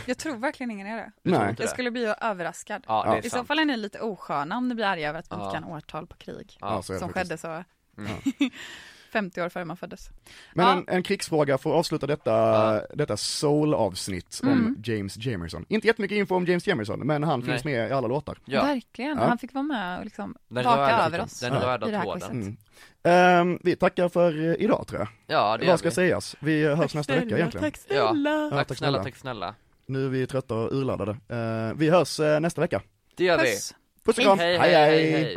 D: Jag tror verkligen ingen är det.
E: Du tror
C: Nej.
E: inte
D: Jag
E: det?
D: skulle bli överraskad.
E: Ja, det
C: Ja.
E: är
D: I så
E: sant.
D: fall är ni lite osköna om ni blir arga över att vi
E: Ja.
D: inte kan årtal på krig.
C: Ja, så är det
D: som
C: faktiskt.
D: skedde så
E: Mm.
D: 50 år före man föddes.
C: Men
D: Ja.
C: en, en krigsfråga för att avsluta detta, detta soul-avsnitt
E: Mm.
C: om James Jamerson. Inte jättemycket info om James Jamerson, men han finns med i alla låtar.
E: Ja,
D: Verkligen,
C: Ja.
D: han fick vara med och liksom
E: Den
D: vaka
E: röda-
D: över oss.
E: den
D: i-
E: röda
D: i det här
E: tråden.
D: quizet.
C: Mm. Ehm, vi tackar för eh, idag tror jag.
E: ja det gör
C: Vad ska
E: vi.
C: sägas? Vi hörs nästa vecka egentligen.
D: Tack
E: Ja.
D: snälla.
C: Ja,
E: Tack snälla, tack snälla.
C: Nu är vi trötta och urladdade. Eh, vi hörs eh, nästa vecka.
E: Det gör vi.
D: Puss.
C: Puss och kram!
E: Hej, hej, hej, hej.